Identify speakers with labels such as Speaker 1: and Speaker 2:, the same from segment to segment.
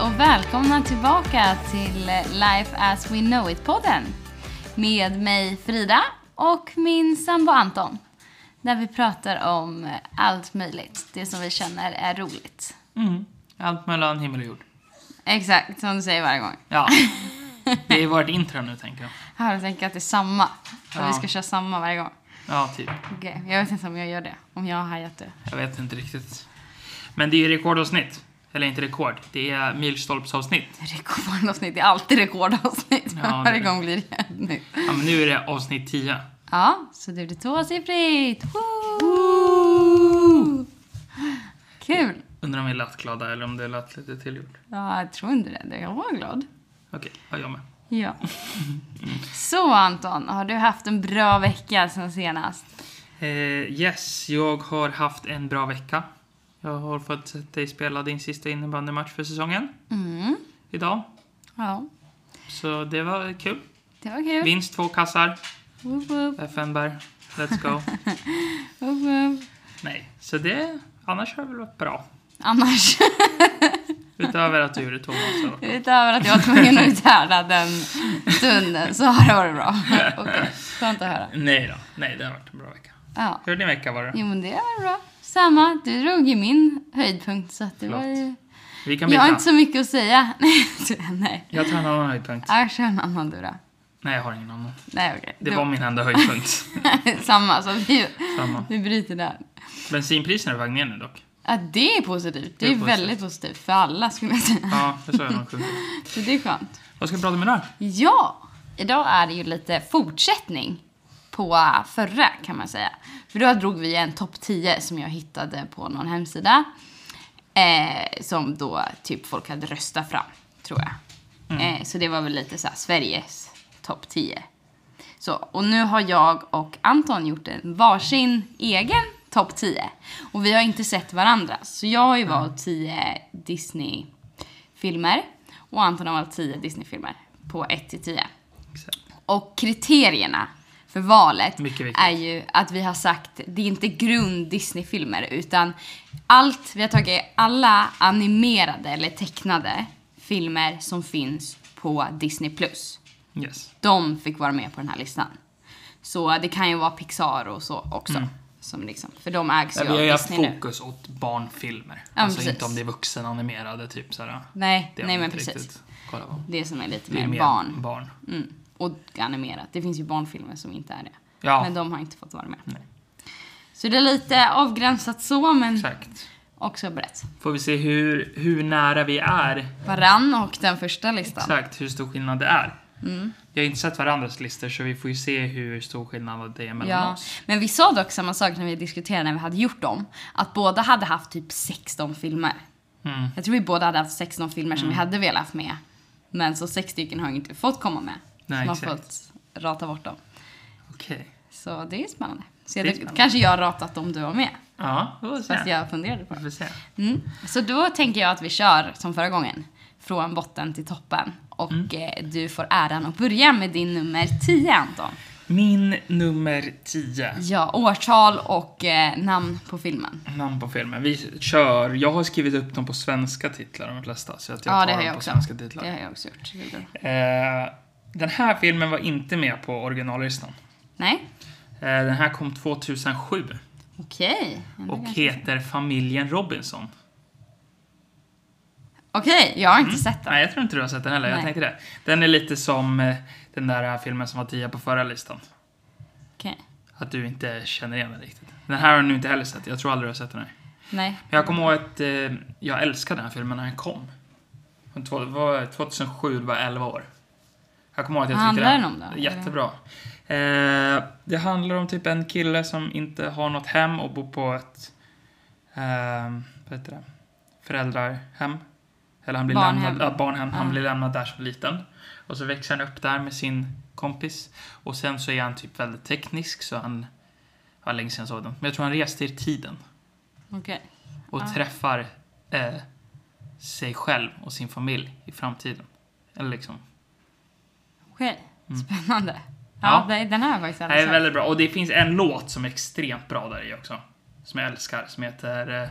Speaker 1: och välkomna tillbaka till Life as we know it-podden. Med mig Frida och min sambo Anton. Där vi pratar om allt möjligt, det som vi känner är roligt.
Speaker 2: Mm. Allt mellan himmel och jord.
Speaker 1: Exakt, som du säger varje gång.
Speaker 2: Ja. Det är vårt intro nu tänker jag.
Speaker 1: Här har tänkt att det är samma. För
Speaker 2: Ja.
Speaker 1: vi ska köra samma varje gång.
Speaker 2: Ja, typ.
Speaker 1: Okej, jag vet inte om jag gör det. Om jag har hajat det.
Speaker 2: Jag vet inte riktigt. Men det är ju rekordavsnitt. Eller inte rekord, det är milstolpsavsnitt.
Speaker 1: Rekordavsnitt, det är alltid rekordavsnitt.
Speaker 2: Ja, det är
Speaker 1: varje
Speaker 2: det.
Speaker 1: gång blir det ett nytt.
Speaker 2: Ja, men nu är det avsnitt 10.
Speaker 1: Ja, så det blir tvåsiffrigt. Woo! Kul!
Speaker 2: Undrar om vi lät glada eller om det lät lite tillgjort.
Speaker 1: Ja, jag tror inte det. Jag var glad.
Speaker 2: Okej, ja, jag med.
Speaker 1: Ja. Så Anton, har du haft en bra vecka sen senast?
Speaker 2: Eh, yes, jag har haft en bra vecka. Jag har fått se dig spela din sista innebandymatch för säsongen
Speaker 1: Mm.
Speaker 2: idag.
Speaker 1: Ja,
Speaker 2: Så det var kul.
Speaker 1: det var kul.
Speaker 2: Vinst två kassar.
Speaker 1: Woop, woop,
Speaker 2: FN-berg. Let's go.
Speaker 1: woop, woop.
Speaker 2: Nej, så det... Annars har det väl varit bra.
Speaker 1: Annars,
Speaker 2: Utöver att du gjorde två mål så.
Speaker 1: utöver att jag var tvungen att uthärda den stunden, så har det varit bra. Okej, skönt att höra.
Speaker 2: Nej då. Nej, det har varit en bra vecka.
Speaker 1: Ja.
Speaker 2: Hur har din vecka varit?
Speaker 1: Jo, men det var bra. Samma, du drog ju min höjdpunkt, så att det var ju...
Speaker 2: Vi kan
Speaker 1: Jag har
Speaker 2: byta.
Speaker 1: inte så mycket att säga. Nej, nej.
Speaker 2: Jag tar en annan höjdpunkt.
Speaker 1: Ja, kör en annan du då.
Speaker 2: Nej, jag har ingen annan.
Speaker 1: Nej, okej.
Speaker 2: Det
Speaker 1: Då-
Speaker 2: var min enda höjdpunkt.
Speaker 1: Samma, så vi,
Speaker 2: Samma.
Speaker 1: vi bryter där.
Speaker 2: Bensinpriserna är på väg ner nu dock.
Speaker 1: Ja, det är positivt. Det
Speaker 2: Det
Speaker 1: är
Speaker 2: är positivt.
Speaker 1: väldigt positivt för alla skulle jag säga.
Speaker 2: Ja, det sa jag nog.
Speaker 1: Så det är skönt.
Speaker 2: Vad ska vi prata om idag?
Speaker 1: Ja, idag är det ju lite fortsättning på förra kan man säga. För då drog vi en topp 10 som jag hittade på någon hemsida. Eh, som då typ folk hade röstat fram, tror jag. Eh, så det var väl lite så här Sveriges topp 10. Så, och nu har jag och Anton gjort en varsin egen topp 10. Och vi har inte sett varandra. Så jag har ju valt 10 Disney-filmer. Och Anton har valt 10 Disney-filmer på 1 till 10. Och kriterierna för valet
Speaker 2: Mycket viktigt.
Speaker 1: är ju att vi har sagt det är inte grund Disney-filmer utan allt, vi har tagit alla animerade eller tecknade filmer som finns på Disney+. Plus.
Speaker 2: Yes.
Speaker 1: De fick vara med på den här listan. Så det kan ju vara Pixar och så också. Som liksom, för de ägs ju
Speaker 2: Mm. vi har ju
Speaker 1: av
Speaker 2: haft
Speaker 1: Disney nu.
Speaker 2: fokus åt barnfilmer.
Speaker 1: men
Speaker 2: alltså
Speaker 1: precis.
Speaker 2: inte om det är vuxenanimerade typ såhär.
Speaker 1: Nej,
Speaker 2: Det har
Speaker 1: nej
Speaker 2: vi
Speaker 1: men
Speaker 2: inte
Speaker 1: precis.
Speaker 2: riktigt kollat på.
Speaker 1: Det som är lite
Speaker 2: Det är
Speaker 1: mer,
Speaker 2: mer
Speaker 1: barn.
Speaker 2: barn.
Speaker 1: Mm. Och animerat. Det finns ju barnfilmer som inte är det.
Speaker 2: Ja.
Speaker 1: Men de har inte fått vara med.
Speaker 2: Nej.
Speaker 1: Så det är lite avgränsat så, men
Speaker 2: Exakt.
Speaker 1: också brett.
Speaker 2: Får vi se hur, hur nära vi är
Speaker 1: Varann och den första listan.
Speaker 2: Exakt hur stor skillnad det är. Jag har inte sett varandras listor så vi får ju se hur stor skillnad det är mellan
Speaker 1: Ja,
Speaker 2: oss.
Speaker 1: men vi sa dock samma sak när vi diskuterade när vi hade gjort dem. Att båda hade haft typ 16 filmer.
Speaker 2: Mm.
Speaker 1: Jag tror vi båda hade haft 16 filmer som vi hade velat haft med. Men så sex stycken har inte fått komma med.
Speaker 2: Nej,
Speaker 1: så man har
Speaker 2: exakt.
Speaker 1: fått rata bort dem.
Speaker 2: Okej.
Speaker 1: Så det är spännande. Så
Speaker 2: Det är
Speaker 1: jag,
Speaker 2: spännande.
Speaker 1: kanske jag har ratat om du var med.
Speaker 2: Ja, vi får se.
Speaker 1: Fast jag funderade på
Speaker 2: Vi
Speaker 1: det.
Speaker 2: får se.
Speaker 1: Mm. Så då tänker jag att vi kör som förra gången. Från botten till toppen. Och
Speaker 2: Mm.
Speaker 1: eh, du får äran att börja med din nummer 10 Anton.
Speaker 2: Min nummer 10.
Speaker 1: Ja, årtal och eh, namn på filmen.
Speaker 2: Namn på filmen. Vi kör. Jag har skrivit upp dem på svenska titlar de flesta. Så att jag
Speaker 1: Ja,
Speaker 2: tar
Speaker 1: det har
Speaker 2: dem
Speaker 1: jag
Speaker 2: på
Speaker 1: också.
Speaker 2: svenska
Speaker 1: Det
Speaker 2: titlar.
Speaker 1: har jag också gjort. Gjorde du?
Speaker 2: Eh, den här filmen var inte med på originallistan.
Speaker 1: Nej,
Speaker 2: Eh, den här kom 2007
Speaker 1: okej.
Speaker 2: och heter Familjen Robinson.
Speaker 1: Okej, jag har inte sett den.
Speaker 2: Nej, jag tror inte du har sett den heller. Jag
Speaker 1: Nej.
Speaker 2: tänkte det. Den är lite som eh, den där eh, filmen som var 10 på förra listan.
Speaker 1: Okej.
Speaker 2: Att du inte känner igen den riktigt. Den här har du inte heller sett. Jag tror aldrig du har sett den här.
Speaker 1: Nej.
Speaker 2: Men jag kommer ihåg att eh, jag älskade den här filmen när den kom. Den två- det var 2007, det var 11 år. Jag kommer ihåg att jag
Speaker 1: Vad
Speaker 2: tyckte
Speaker 1: handlar den om då?
Speaker 2: Jättebra. Eh, det handlar om typ en kille som inte har något hem och bor på ett... Eh, vad heter det? Föräldrarhem. Eller han blir
Speaker 1: Barnhem.
Speaker 2: lämnad... Ja, barnhem. Han
Speaker 1: Ja.
Speaker 2: blir lämnad där som liten. Och så växer han upp där med sin kompis. Och sen så är han typ väldigt teknisk så han... Ja, länge sedan jag såg den. Men jag tror han reste i tiden
Speaker 1: Okej.
Speaker 2: och
Speaker 1: Ja.
Speaker 2: träffar eh, sig själv och sin familj i framtiden. Eller liksom.
Speaker 1: Okej. Spännande. Ja,
Speaker 2: Mm.
Speaker 1: det-
Speaker 2: Ja.
Speaker 1: den här har jag faktiskt
Speaker 2: Det är
Speaker 1: aldrig sett.
Speaker 2: väldigt bra. Och det finns en låt som är extremt bra där i också. Som jag älskar, som heter eh,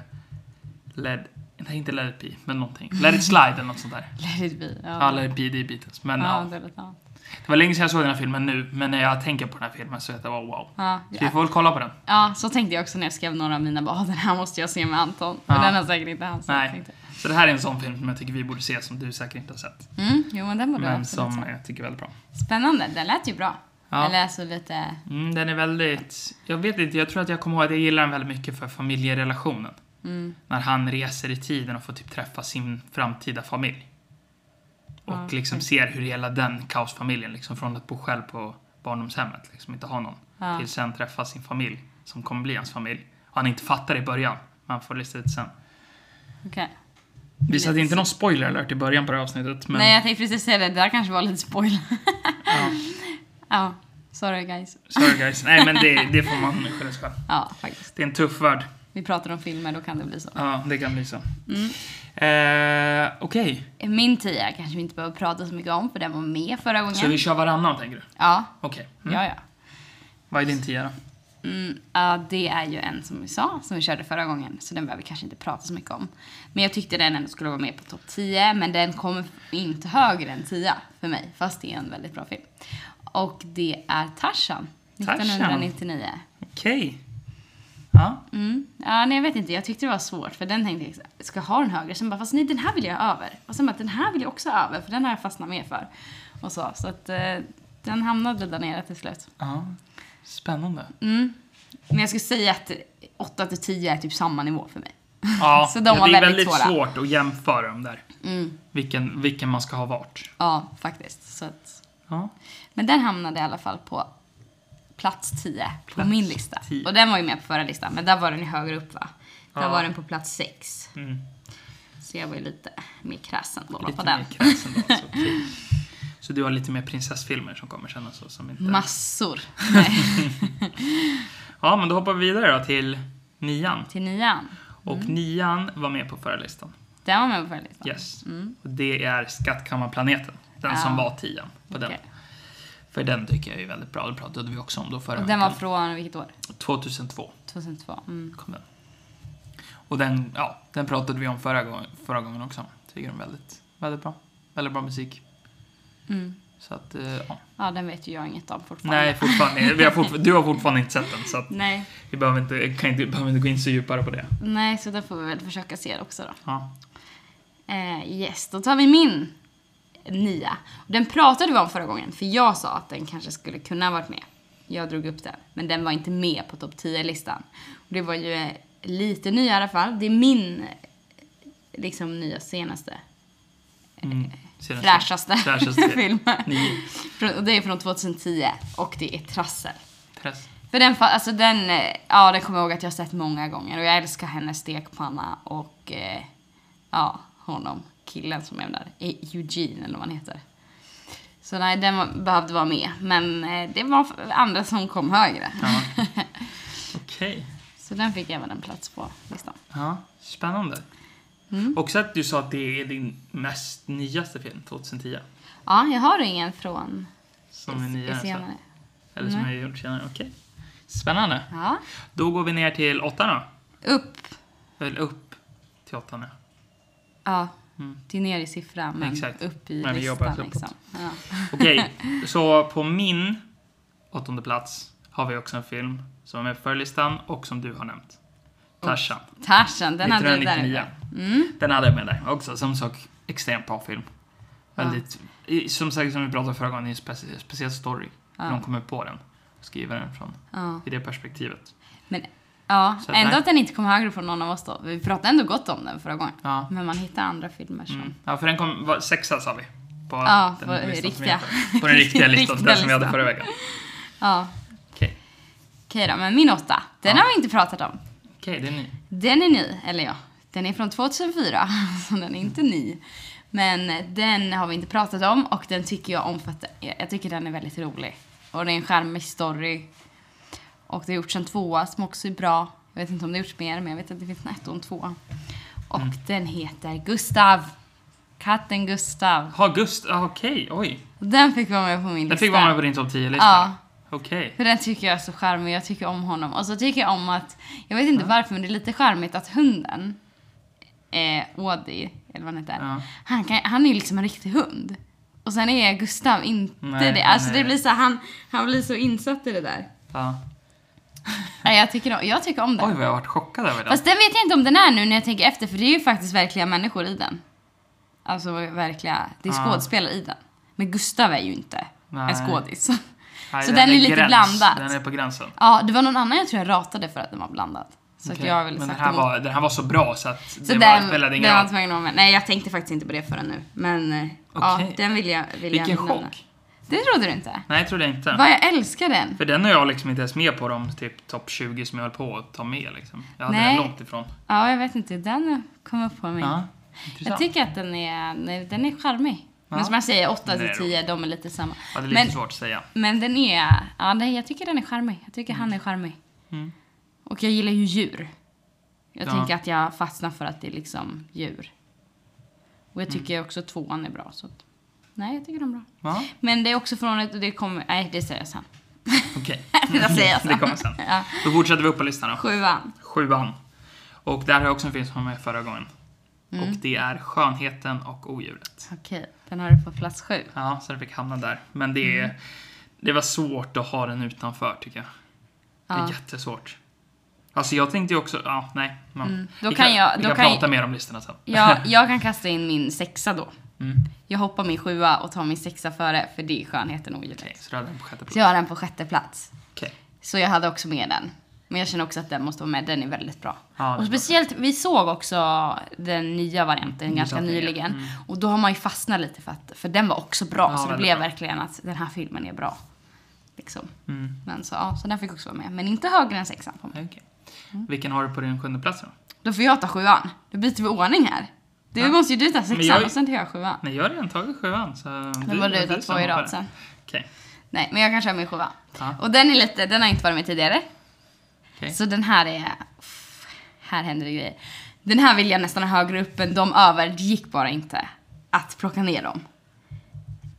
Speaker 2: Led... Nej, inte Let it be, men någonting. Let it slide eller något sånt där.
Speaker 1: Let it be.
Speaker 2: Ja, Let it be, det är Beatles. Men
Speaker 1: ja,
Speaker 2: ja.
Speaker 1: det är lite annat.
Speaker 2: Det var länge sedan jag såg den här filmen nu, men när jag tänker på den här filmen så är det bara wow.
Speaker 1: Ja,
Speaker 2: Så vi får väl kolla på den.
Speaker 1: ja, så tänkte jag också när jag skrev några av mina bara, "Ah, den här måste jag se med Anton.
Speaker 2: Ja.
Speaker 1: Men den har säkert inte han sett.
Speaker 2: Nej.
Speaker 1: tänkte jag.
Speaker 2: Så det här är en sån film som jag tycker vi borde se, som du säkert inte har sett.
Speaker 1: Mm, jo men den borde jag
Speaker 2: Men
Speaker 1: absolut
Speaker 2: som
Speaker 1: se.
Speaker 2: jag tycker är väldigt bra.
Speaker 1: Spännande, den lät ju bra.
Speaker 2: Ja.
Speaker 1: Eller alltså lite...
Speaker 2: Mm, den är väldigt... Jag vet inte, jag tror att jag kommer ihåg att jag gillar den väldigt mycket för familjerelationen.
Speaker 1: mm,
Speaker 2: När han reser i tiden och får typ träffa sin framtida familj. Och
Speaker 1: Ja,
Speaker 2: liksom ser hur hela den kaosfamiljen, liksom från att bo själv på barndomshemmet, liksom inte ha någon.
Speaker 1: Ja.
Speaker 2: Till sen träffa sin familj, som kommer bli hans familj. Och han inte fattar i början, men han får lista ut sen.
Speaker 1: Okej.
Speaker 2: Vi satte inte någon spoiler alert i början på det här avsnittet, men...
Speaker 1: Nej jag tänkte precis säga det, det där kanske var lite spoiler.
Speaker 2: Ja,
Speaker 1: ja, sorry guys.
Speaker 2: sorry guys. Nej men det, det får man skylla sig själv.
Speaker 1: Ja, faktiskt.
Speaker 2: Det är en tuff värld.
Speaker 1: Vi pratar om filmer, då kan det bli så.
Speaker 2: Ja, det kan bli så.
Speaker 1: Mm.
Speaker 2: Eh, Okej,
Speaker 1: Min tia kanske vi inte behöver prata så mycket om, för den var med förra gången.
Speaker 2: så vi kör varannan tänker du?
Speaker 1: Ja,
Speaker 2: Okej. Mm.
Speaker 1: ja, ja.
Speaker 2: Vad är din tia då?
Speaker 1: Mm, ja, det är ju en som vi sa, som vi körde förra gången, så den behöver vi kanske inte prata så mycket om. Men jag tyckte den ändå skulle vara med på topp 10, men den kommer inte högre än 10 för mig, fast det är en väldigt bra film. Och det är Tarzan,
Speaker 2: Tarzan.
Speaker 1: 1999.
Speaker 2: Okej. Ja.
Speaker 1: Mm. Ja, nej, jag vet inte, jag tyckte det var svårt, för den tänkte jag ska jag ha den högre, sen bara fast nej den här vill jag ha över. Och sen bara den här vill jag också ha över, för den har jag fastnat med för. Och så, så att eh, den hamnade där nere till slut.
Speaker 2: ja. Spännande.
Speaker 1: Mm. Men jag skulle säga att 8 till 10 är typ samma nivå för mig.
Speaker 2: Ja,
Speaker 1: Så de var
Speaker 2: det är
Speaker 1: väldigt
Speaker 2: väldigt
Speaker 1: svåra.
Speaker 2: svårt att jämföra dem där.
Speaker 1: Mm.
Speaker 2: Vilken, vilken man ska ha vart.
Speaker 1: Ja, faktiskt. Så att,
Speaker 2: Ja.
Speaker 1: men den hamnade i alla fall på plats 10 på
Speaker 2: Plats
Speaker 1: min lista.
Speaker 2: 10.
Speaker 1: Och den var ju med på förra listan, men där var den ju högre upp va? Där
Speaker 2: Ja.
Speaker 1: var den på plats 6.
Speaker 2: Mm.
Speaker 1: Så jag var ju lite mer krass ändå på
Speaker 2: Lite
Speaker 1: den.
Speaker 2: mer krass ändå. Så, okej. så du har lite mer prinsessfilmer som kommer sen alltså, som inte...
Speaker 1: Massor.
Speaker 2: Ja, men då hoppar vi vidare då till nian.
Speaker 1: Till nian.
Speaker 2: Och
Speaker 1: Mm.
Speaker 2: nian var med på förra listan.
Speaker 1: Den var med på förra listan. Mm,
Speaker 2: Yes. Och det är Skattkammarplaneten. Den
Speaker 1: Ja.
Speaker 2: som var tian på den.
Speaker 1: Okej.
Speaker 2: För den tycker jag är väldigt bra. Det pratade vi också om då förra
Speaker 1: Och den var
Speaker 2: veckan.
Speaker 1: från vilket år?
Speaker 2: 2002
Speaker 1: 2002. Mm.
Speaker 2: kom den. Och den, ja, den pratade vi om förra, gång, förra gången också. Tycker den är väldigt, väldigt bra. Väldigt bra musik.
Speaker 1: Mm.
Speaker 2: Så att, eh, ja.
Speaker 1: Ja, den vet ju jag inget om fortfarande.
Speaker 2: Nej, fortfarande. Vi har fortfar- du har fortfarande inte sett den så att
Speaker 1: Nej.
Speaker 2: vi behöver inte, kan inte, behöver inte gå in så djupare på det.
Speaker 1: Nej, så då får vi väl försöka se det också då.
Speaker 2: Ja.
Speaker 1: Eh, yes, då tar vi min nia. Och Den pratade vi om förra gången, för jag sa att den kanske skulle kunna ha varit med. Jag drog upp den, men den var inte med på topp 10-listan. Och det var ju eh, lite ny i alla fall. Det är min eh, liksom nya senaste,
Speaker 2: Mm. Senaste-
Speaker 1: fräschaste,
Speaker 2: Fräschaste.
Speaker 1: film.
Speaker 2: Nio.
Speaker 1: Från- Och det är från 2010 och det är Trassel.
Speaker 2: Press.
Speaker 1: För den, fa- alltså den, eh, ja den kommer jag ihåg att jag har sett många gånger och jag älskar hennes stekpanna och eh, ja, honom, killen som är där, E- Eugene eller vad han heter. Så nej, den var, behövde vara med, men eh, det var f- andra som kom högre.
Speaker 2: Ja. Okej.
Speaker 1: Så den fick även en plats på listan.
Speaker 2: Ja, spännande.
Speaker 1: Mm.
Speaker 2: Också att du sa att det är din mest nyaste film, 2010.
Speaker 1: Ja, jag har ingen från
Speaker 2: Som är
Speaker 1: i- i
Speaker 2: nyare. så-
Speaker 1: senare. Mm.
Speaker 2: Eller som jag har gjort senare, okej. Spännande.
Speaker 1: Ja,
Speaker 2: Då går vi ner till åttan då.
Speaker 1: upp.
Speaker 2: Eller upp till åttan nu.
Speaker 1: Ja,
Speaker 2: Mm.
Speaker 1: det är ner i siffran men
Speaker 2: Exakt.
Speaker 1: upp i
Speaker 2: Men vi jobbar
Speaker 1: listan
Speaker 2: uppåt.
Speaker 1: liksom. Ja.
Speaker 2: Okej, så på min åttonde plats har vi också en film som är med på förlistan och som du har nämnt. Tarzan,
Speaker 1: Tarzan, den hade du där.
Speaker 2: 1999.
Speaker 1: uppe. Mm.
Speaker 2: Den hade jag med där också. Som sagt, extremt bra film.
Speaker 1: Ja.
Speaker 2: Väldigt, i- som sagt, som vi pratade förra gången, det är en specie, speciell story.
Speaker 1: Ja.
Speaker 2: Hur de kommer på den och skriver den från,
Speaker 1: Ja.
Speaker 2: i det perspektivet.
Speaker 1: Men ja,
Speaker 2: Så att
Speaker 1: ändå
Speaker 2: nej.
Speaker 1: att den inte kom högre från någon av oss då. Vi pratade ändå gott om den förra gången.
Speaker 2: Ja.
Speaker 1: Men man hittar andra filmer som...
Speaker 2: Mm. Ja, för den kom, var, sexa sa vi. På
Speaker 1: Ja,
Speaker 2: den
Speaker 1: på
Speaker 2: listan som
Speaker 1: riktiga.
Speaker 2: vi hade. På den riktiga listan,
Speaker 1: Riktiga
Speaker 2: den som vi hade
Speaker 1: listan.
Speaker 2: förra veckan.
Speaker 1: Ja,
Speaker 2: Okej,
Speaker 1: okej då. Men min åtta, den
Speaker 2: Ja.
Speaker 1: har vi inte pratat om.
Speaker 2: Okej, det är ni.
Speaker 1: Den är ny, eller ja, den är från 2004, så den är inte ny. Men den har vi inte pratat om och den tycker jag om för att jag jag tycker den är väldigt rolig. Och det är en charmig story. Och det har gjorts en tvåa som också är bra. Jag vet inte om det har gjorts mer, men jag vet att det finns en ett och en tvåa. Och
Speaker 2: Mm.
Speaker 1: den heter Gustav. Katten Gustav.
Speaker 2: Ha, Gust, ah, okej, oj.
Speaker 1: Den fick vara med på min lista.
Speaker 2: Den fick vara med på din topp 10-lista.
Speaker 1: Ja,
Speaker 2: Okej.
Speaker 1: för den tycker jag är så charmig. Jag tycker om honom. Och så tycker jag om att, jag vet inte varför, men det är lite charmigt att hunden eh, Audi, eller vad han heter.
Speaker 2: Ja.
Speaker 1: Han, kan, han är ju liksom en riktig hund. Och sen är Gustav inte
Speaker 2: Nej,
Speaker 1: det. Alltså
Speaker 2: nej.
Speaker 1: det blir så, han, han blir så insatt i det där.
Speaker 2: Ja.
Speaker 1: Nej, jag, tycker, om- jag tycker om
Speaker 2: Oj,
Speaker 1: den.
Speaker 2: vad jag har varit chockad över den.
Speaker 1: Fast den vet jag inte om den är nu när jag tänker efter för det är ju faktiskt verkliga människor i den. Alltså verkliga, det är
Speaker 2: Ja.
Speaker 1: skådespelare i den. Men Gustav är ju inte
Speaker 2: Nej.
Speaker 1: en skådis.
Speaker 2: Nej,
Speaker 1: så den är lite blandad.
Speaker 2: Den är på gränsen.
Speaker 1: Ja, det var någon annan jag tror jag ratade för att den var blandad. Så att
Speaker 2: Okej.
Speaker 1: jag ville
Speaker 2: Men den
Speaker 1: sagt
Speaker 2: här,
Speaker 1: emot.
Speaker 2: var, den här var så bra så att
Speaker 1: Så
Speaker 2: det
Speaker 1: den,
Speaker 2: var, spelade ingen
Speaker 1: den var
Speaker 2: roll.
Speaker 1: inte med om. Nej, jag tänkte faktiskt inte på det förrän nu. Men eh, ja,
Speaker 2: Okej.
Speaker 1: den vill jag vill
Speaker 2: Vilken
Speaker 1: jag nämna.
Speaker 2: chock.
Speaker 1: Det trodde du inte?
Speaker 2: Nej, jag trodde inte.
Speaker 1: Vad jag älskar den.
Speaker 2: För den är jag liksom inte ens med på de typ topp 20 som jag höll på att ta med liksom. Jag hade
Speaker 1: Nej.
Speaker 2: den långt ifrån.
Speaker 1: Ja, jag vet inte. Den kom upp på mig.
Speaker 2: Ja,
Speaker 1: Jag
Speaker 2: intressant.
Speaker 1: tycker att den är, nej, den är charmig.
Speaker 2: Ja.
Speaker 1: Men som jag säger, 8
Speaker 2: Den är
Speaker 1: till 10, de är lite samma.
Speaker 2: ja, det är lite
Speaker 1: Men,
Speaker 2: svårt att säga.
Speaker 1: men den är, ja, nej, jag tycker den är charmig. Jag tycker han är charmig.
Speaker 2: Mm.
Speaker 1: Och jag gillar ju djur. Jag
Speaker 2: Ja.
Speaker 1: tänker att jag fastnar för att det är liksom djur. Och jag tycker också tvåan är bra. Så att, nej, jag tycker de är bra.
Speaker 2: Ja,
Speaker 1: Men det är också från ett, det kommer, nej det säger jag sen.
Speaker 2: okej.
Speaker 1: Det där säger jag sen.
Speaker 2: Det kommer sen.
Speaker 1: Ja.
Speaker 2: Då fortsätter vi upp på listan då.
Speaker 1: Sjuan.
Speaker 2: Sjuan. Och där har jag också en film som var med förra gången.
Speaker 1: Mm.
Speaker 2: Och det är Skönheten och odjuret.
Speaker 1: Okej, den har du på plats sju.
Speaker 2: Ja, så den fick hamna där. Men det,
Speaker 1: Mm.
Speaker 2: är, det var svårt att ha den utanför tycker jag. Det är
Speaker 1: Ja.
Speaker 2: jättesvårt. Alltså jag tänkte ju också, ja nej. Man,
Speaker 1: Mm. Då
Speaker 2: vi
Speaker 1: kan jag-
Speaker 2: vi
Speaker 1: då
Speaker 2: kan,
Speaker 1: kan-
Speaker 2: prata mer om listorna sen.
Speaker 1: Ja, jag kan kasta in min sexa då.
Speaker 2: Mm.
Speaker 1: Jag hoppar min sjua och tar min sexa före, för det är skönheten och odjuret.
Speaker 2: Okej, så du hade den på sjätte plats.
Speaker 1: Så jag har den på sjätte plats.
Speaker 2: Okej.
Speaker 1: Så jag hade också med den. Men jag känner också att den måste vara med, den är väldigt bra.
Speaker 2: Ja, den är
Speaker 1: och
Speaker 2: bra.
Speaker 1: speciellt, vi såg också den nya varianten ganska
Speaker 2: satte ner.
Speaker 1: nyligen. Och då har man ju fastnat lite för att, för den var också bra.
Speaker 2: Mm. Ja,
Speaker 1: så det
Speaker 2: väldigt
Speaker 1: blev
Speaker 2: bra.
Speaker 1: verkligen att den här filmen är bra. Liksom.
Speaker 2: Mm.
Speaker 1: Men så, ja, så den fick också vara med. Men inte högre än sexan på mig.
Speaker 2: Okej.
Speaker 1: Mm.
Speaker 2: Vilken har du på din sjunde plats då?
Speaker 1: Då får jag ta sjuan. Då byter vi ordning här. Du måste ju du ta sexan
Speaker 2: Men jag-
Speaker 1: och sen tar jag sjuan.
Speaker 2: Nej, jag har redan tagit sjuan. Så
Speaker 1: Då var du ta två i rad sen.
Speaker 2: Okej.
Speaker 1: Nej, men jag kan köra min sjua.
Speaker 2: Ja.
Speaker 1: Och den är lite, den har inte varit med tidigare.
Speaker 2: Okej.
Speaker 1: Så den här är... pff, Här händer det grejer. Den här vill jag nästan ha högre upp än de över. Det gick bara inte att plocka ner dem.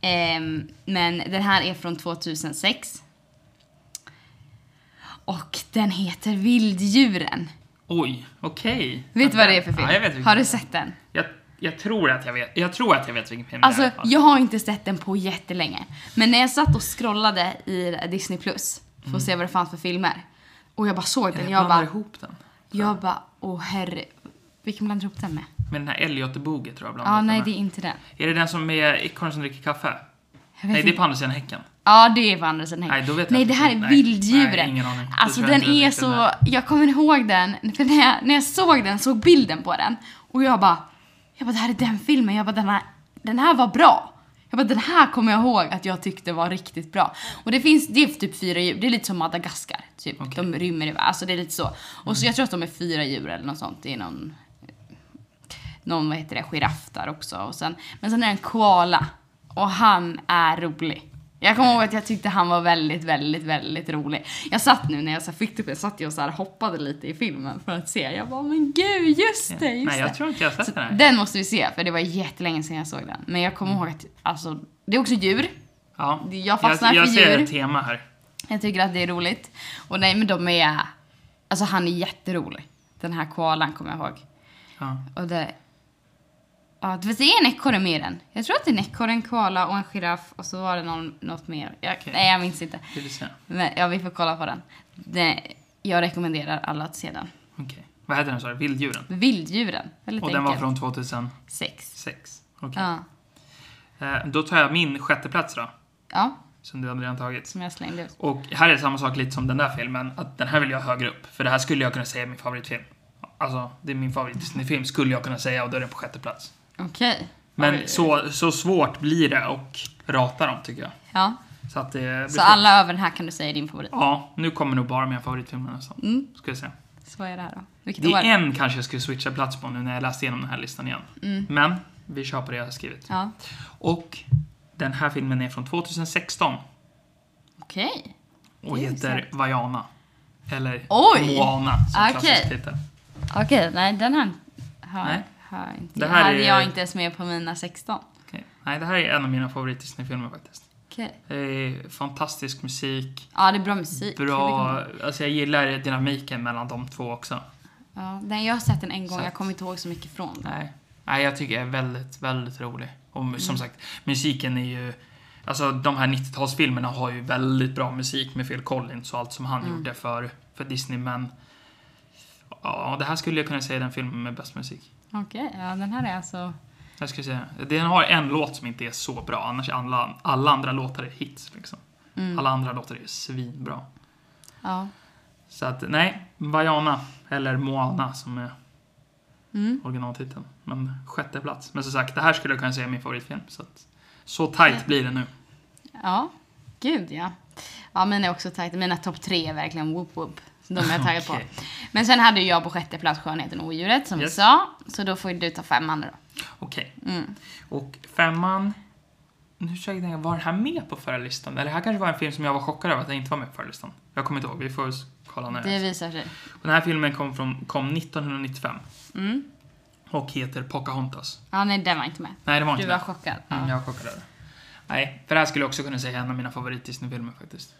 Speaker 1: Ehm, men den här är från 2006. Och den heter Vilddjuren.
Speaker 2: Oj, okej.
Speaker 1: Vet du vad det är för film?
Speaker 2: Ja, jag, vet vilken-
Speaker 1: har du sett den?
Speaker 2: Jag, jag tror att jag vet. Jag tror att jag vet vilken film det är.
Speaker 1: Alltså,
Speaker 2: i alla fall.
Speaker 1: jag har inte sett den på jättelänge. Men när jag satt och scrollade i Disney Plus för att se vad det fanns för filmer. Och jag bara såg den. Jag
Speaker 2: Mm. blandar
Speaker 1: bara,
Speaker 2: ihop den.
Speaker 1: jag bara, åh herre. Vilken blandar ihop den med?
Speaker 2: Med den här Elliot-boget tror
Speaker 1: Ja,
Speaker 2: jag blandar ihop
Speaker 1: nej
Speaker 2: den
Speaker 1: det
Speaker 2: med.
Speaker 1: är inte den.
Speaker 2: Är det den som är ekorren som dricker kaffe?
Speaker 1: Jag vet
Speaker 2: Nej, det är
Speaker 1: inte.
Speaker 2: på andra sidan häcken.
Speaker 1: Ja, det är på andra sidan
Speaker 2: Nej, då vet jag
Speaker 1: Nej,
Speaker 2: inte.
Speaker 1: det här
Speaker 2: Nej,
Speaker 1: är
Speaker 2: nej,
Speaker 1: vilddjuren.
Speaker 2: ingen aning. Då
Speaker 1: Alltså
Speaker 2: tror jag
Speaker 1: den
Speaker 2: inte jag
Speaker 1: är
Speaker 2: vet
Speaker 1: så...
Speaker 2: vem det
Speaker 1: Jag kommer ihåg den, för när jag, när jag såg den, såg bilden på den och jag bara... Jag bara, det här är den filmen. Jag bara, den här, den här var bra. Jag bara, den här kommer jag ihåg att jag tyckte var riktigt bra. Och det finns, det är typ fyra djur. Det är lite som Madagaskar, typ.
Speaker 2: Okej. Mm.
Speaker 1: De rymmer i Alltså det är lite så. Och så jag tror att de är fyra djur eller något sånt. Det är någon... Någon, vad heter det, giraff där också. Och sen, men sen är det en koala. Och han är rolig. Jag kommer ihåg att jag tyckte han var väldigt, väldigt, väldigt rolig. Jag satt nu när jag så här fick det, jag satt jag och så här hoppade lite i filmen för att se. Jag bara, men gud, just det, just
Speaker 2: Nej, jag
Speaker 1: det.
Speaker 2: tror inte jag har
Speaker 1: Så
Speaker 2: sett den här.
Speaker 1: den måste vi se, för det var jättelänge sedan jag såg den. Men jag kommer ihåg att, alltså, det är också djur.
Speaker 2: Ja.
Speaker 1: jag fastnar
Speaker 2: jag, jag
Speaker 1: för
Speaker 2: ser
Speaker 1: djur.
Speaker 2: ett tema här.
Speaker 1: Jag tycker att det är roligt. Och nej, men de är, alltså han är jätterolig. Den här koalan kommer jag ihåg.
Speaker 2: Ja.
Speaker 1: Och det... Ja, det är en ekorre med i den. Jag tror att det är en ekorre, en koala och en giraff och så var det någon, något mer. Jag,
Speaker 2: Okej.
Speaker 1: Nej, jag minns inte.
Speaker 2: Det vill säga.
Speaker 1: Men ja, vi får kolla på den. Det, jag rekommenderar alla att se den.
Speaker 2: Okej. Vad heter den sa du? Vilddjuren?
Speaker 1: Vilddjuren. Väldigt
Speaker 2: Och
Speaker 1: enkelt.
Speaker 2: den var från 2006?
Speaker 1: Sex.
Speaker 2: Okej.
Speaker 1: Ja.
Speaker 2: Eh, Då tar jag min sjätte plats då.
Speaker 1: ja,
Speaker 2: Som du hade redan tagit.
Speaker 1: som jag slängde ut.
Speaker 2: Och här är samma sak lite som den där filmen, att den här vill jag ha högre upp. För det här skulle jag kunna säga är min favoritfilm. Alltså, det är min favorit Disney-film skulle jag kunna säga och då är den på sjätte plats.
Speaker 1: Okej.
Speaker 2: Men
Speaker 1: Oj.
Speaker 2: så, så svårt blir det och rata dem tycker jag.
Speaker 1: Ja.
Speaker 2: Så att det blir
Speaker 1: Så
Speaker 2: svårt.
Speaker 1: alla över den här kan du säga är din favorit. Mm,
Speaker 2: Ja, nu kommer nog bara mina favoritfilmer nästan. Ska jag säga.
Speaker 1: Så är det här då. Vilket
Speaker 2: Det
Speaker 1: år?
Speaker 2: är en kanske jag skulle switcha plats på nu när jag läste igenom den här listan igen.
Speaker 1: Mm.
Speaker 2: Men, vi kör på det jag har skrivit.
Speaker 1: Ja.
Speaker 2: Och den här filmen är från 2016
Speaker 1: Okej.
Speaker 2: och
Speaker 1: Det är
Speaker 2: heter Vaiana. Eller
Speaker 1: Oj!
Speaker 2: Moana som
Speaker 1: Okej.
Speaker 2: klassisk titel.
Speaker 1: Okej, nej den här har,
Speaker 2: Nej.
Speaker 1: har inte,
Speaker 2: Det här
Speaker 1: hade
Speaker 2: är-
Speaker 1: jag inte ens med på mina 16.
Speaker 2: Okej. Nej, det här är en av mina favorit Disney-filmer faktiskt.
Speaker 1: Okej.
Speaker 2: Det är fantastisk musik,
Speaker 1: Ja, det är bra musik. Det kan
Speaker 2: bra... Alltså jag gillar dynamiken mellan de två också.
Speaker 1: vi komma Ja, den jag har sett den en gång,
Speaker 2: Så
Speaker 1: jag
Speaker 2: att-
Speaker 1: kommer inte ihåg så mycket från den.
Speaker 2: Nej. Nej, jag tycker det är väldigt, väldigt rolig. Och mu- som sagt, musiken är ju... Alltså de här 90-talsfilmerna har ju väldigt bra musik med Phil Collins och allt som han gjorde för, för Disney, men... Ja, det här skulle jag kunna säga är den filmen med bäst musik.
Speaker 1: Okej, ja den här är alltså...
Speaker 2: Jag skulle säga. Den har en låt som inte är så bra, annars är alla, alla andra låtar är hits liksom.
Speaker 1: Mm.
Speaker 2: Alla andra låtar är svinbra.
Speaker 1: Ja.
Speaker 2: Så att, nej, Vaiana, eller Moana som är
Speaker 1: Mm.
Speaker 2: originaltiteln. Men sjätte plats. Men som sagt, det här skulle jag kunna säga är min favoritfilm. Så, att, så tight blir det nu.
Speaker 1: Ja. Gud ja. Ja, mina är också tajta. Mina topp tre är verkligen whoop whoop. Så de är jag taggad
Speaker 2: Okej.
Speaker 1: på. Men sen hade ju jag på sjätte plats Skönheten och odjuret som vi
Speaker 2: Yes.
Speaker 1: sa. Så då får ju du ta femman då.
Speaker 2: Okej.
Speaker 1: Mm.
Speaker 2: Och femman... Nu försöker jag tänka, var den här med på förra listan? Eller det här kanske var en film som jag var chockad över att den inte var med på förra listan. Jag kommer inte ihåg, vi får kolla nu.
Speaker 1: Det visar sig.
Speaker 2: Och Den här filmen kom, från, kom 1995
Speaker 1: Mm.
Speaker 2: och heter Pocahontas.
Speaker 1: Ja, nej den var inte med.
Speaker 2: Nej, det var inte
Speaker 1: Du var
Speaker 2: det.
Speaker 1: chockad. Ja.
Speaker 2: Mm, jag var chockad över det. Nej, för det här skulle jag också kunna säga är en av mina favorit Disney-filmer faktiskt.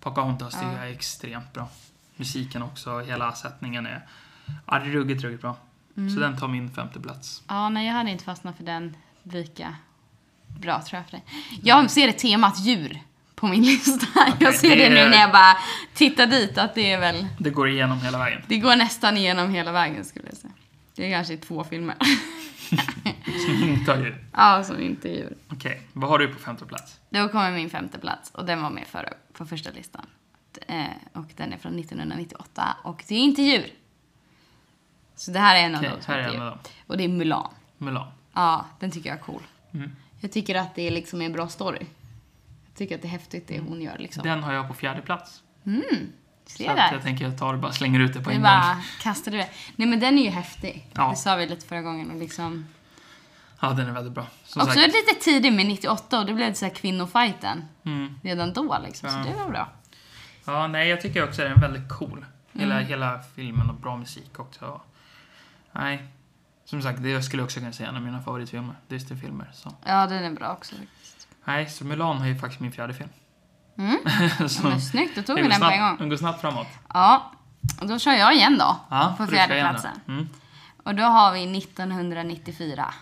Speaker 2: Pocahontas tycker
Speaker 1: Ja.
Speaker 2: jag är extremt bra. Musiken också, hela sättningen är... Ja, det är ruggigt, ruggigt bra.
Speaker 1: Mm.
Speaker 2: Så den tar min femte plats.
Speaker 1: ja, nej jag hade inte fastnat för den lika bra tror jag för dig. Jag ser ett temat djur på min lista. jag
Speaker 2: Okej,
Speaker 1: ser det,
Speaker 2: det
Speaker 1: nu
Speaker 2: är-
Speaker 1: när jag bara tittar dit att det är väl
Speaker 2: Det går igenom hela vägen.
Speaker 1: Det går nästan igenom hela vägen skulle jag säga. Det är kanske två filmer.
Speaker 2: Tar ju.
Speaker 1: ja, som inte är djur.
Speaker 2: Okej, vad har du på femte plats?
Speaker 1: Då kommer min femte plats och den var med förra, på första listan. Eh, och den är från 1998 och det är inte djur. Så det här är en av
Speaker 2: Okej,
Speaker 1: dem som
Speaker 2: här
Speaker 1: inte
Speaker 2: är
Speaker 1: är
Speaker 2: en
Speaker 1: djur.
Speaker 2: av dem.
Speaker 1: Och det är Mulan.
Speaker 2: Mulan.
Speaker 1: Ja, den tycker jag är cool.
Speaker 2: Mm.
Speaker 1: Jag tycker att det är liksom en bra story. Jag tycker att det är häftigt det hon gör liksom.
Speaker 2: Den har jag på fjärde plats.
Speaker 1: Mm, se
Speaker 2: Så att jag
Speaker 1: där.
Speaker 2: tänker jag tar och bara slänger ut det på
Speaker 1: Vi
Speaker 2: en
Speaker 1: bara
Speaker 2: gång.
Speaker 1: kastade det. Nej men den är ju häftig.
Speaker 2: Ja.
Speaker 1: Det sa vi lite förra gången och liksom.
Speaker 2: Ja, den är väldigt bra. Som
Speaker 1: Också
Speaker 2: sagt.
Speaker 1: lite tidig med 98 och det blev så här kvinnofajten
Speaker 2: Mm.
Speaker 1: redan då liksom,
Speaker 2: Ja.
Speaker 1: så det var bra.
Speaker 2: Ja, nej, jag tycker också att den är väldigt cool. Hela,
Speaker 1: Mm.
Speaker 2: hela filmen och bra musik också. Nej. Som sagt, det skulle jag också kunna säga är en av mina favoritfilmer. Disneyfilmer. Så.
Speaker 1: Ja, den är bra också faktiskt.
Speaker 2: Nej, så Mulan har ju faktiskt min fjärde film.
Speaker 1: Mm.
Speaker 2: så,
Speaker 1: Ja, men snyggt, då tog
Speaker 2: Alltså, det
Speaker 1: vi den
Speaker 2: går
Speaker 1: på en
Speaker 2: snabbt-
Speaker 1: gång.
Speaker 2: den går snabbt framåt.
Speaker 1: Ja, och då kör jag igen då.
Speaker 2: Ja,
Speaker 1: på
Speaker 2: får du köra
Speaker 1: fjärde
Speaker 2: igen då.
Speaker 1: platsen.
Speaker 2: Mm.
Speaker 1: Och då har vi 1994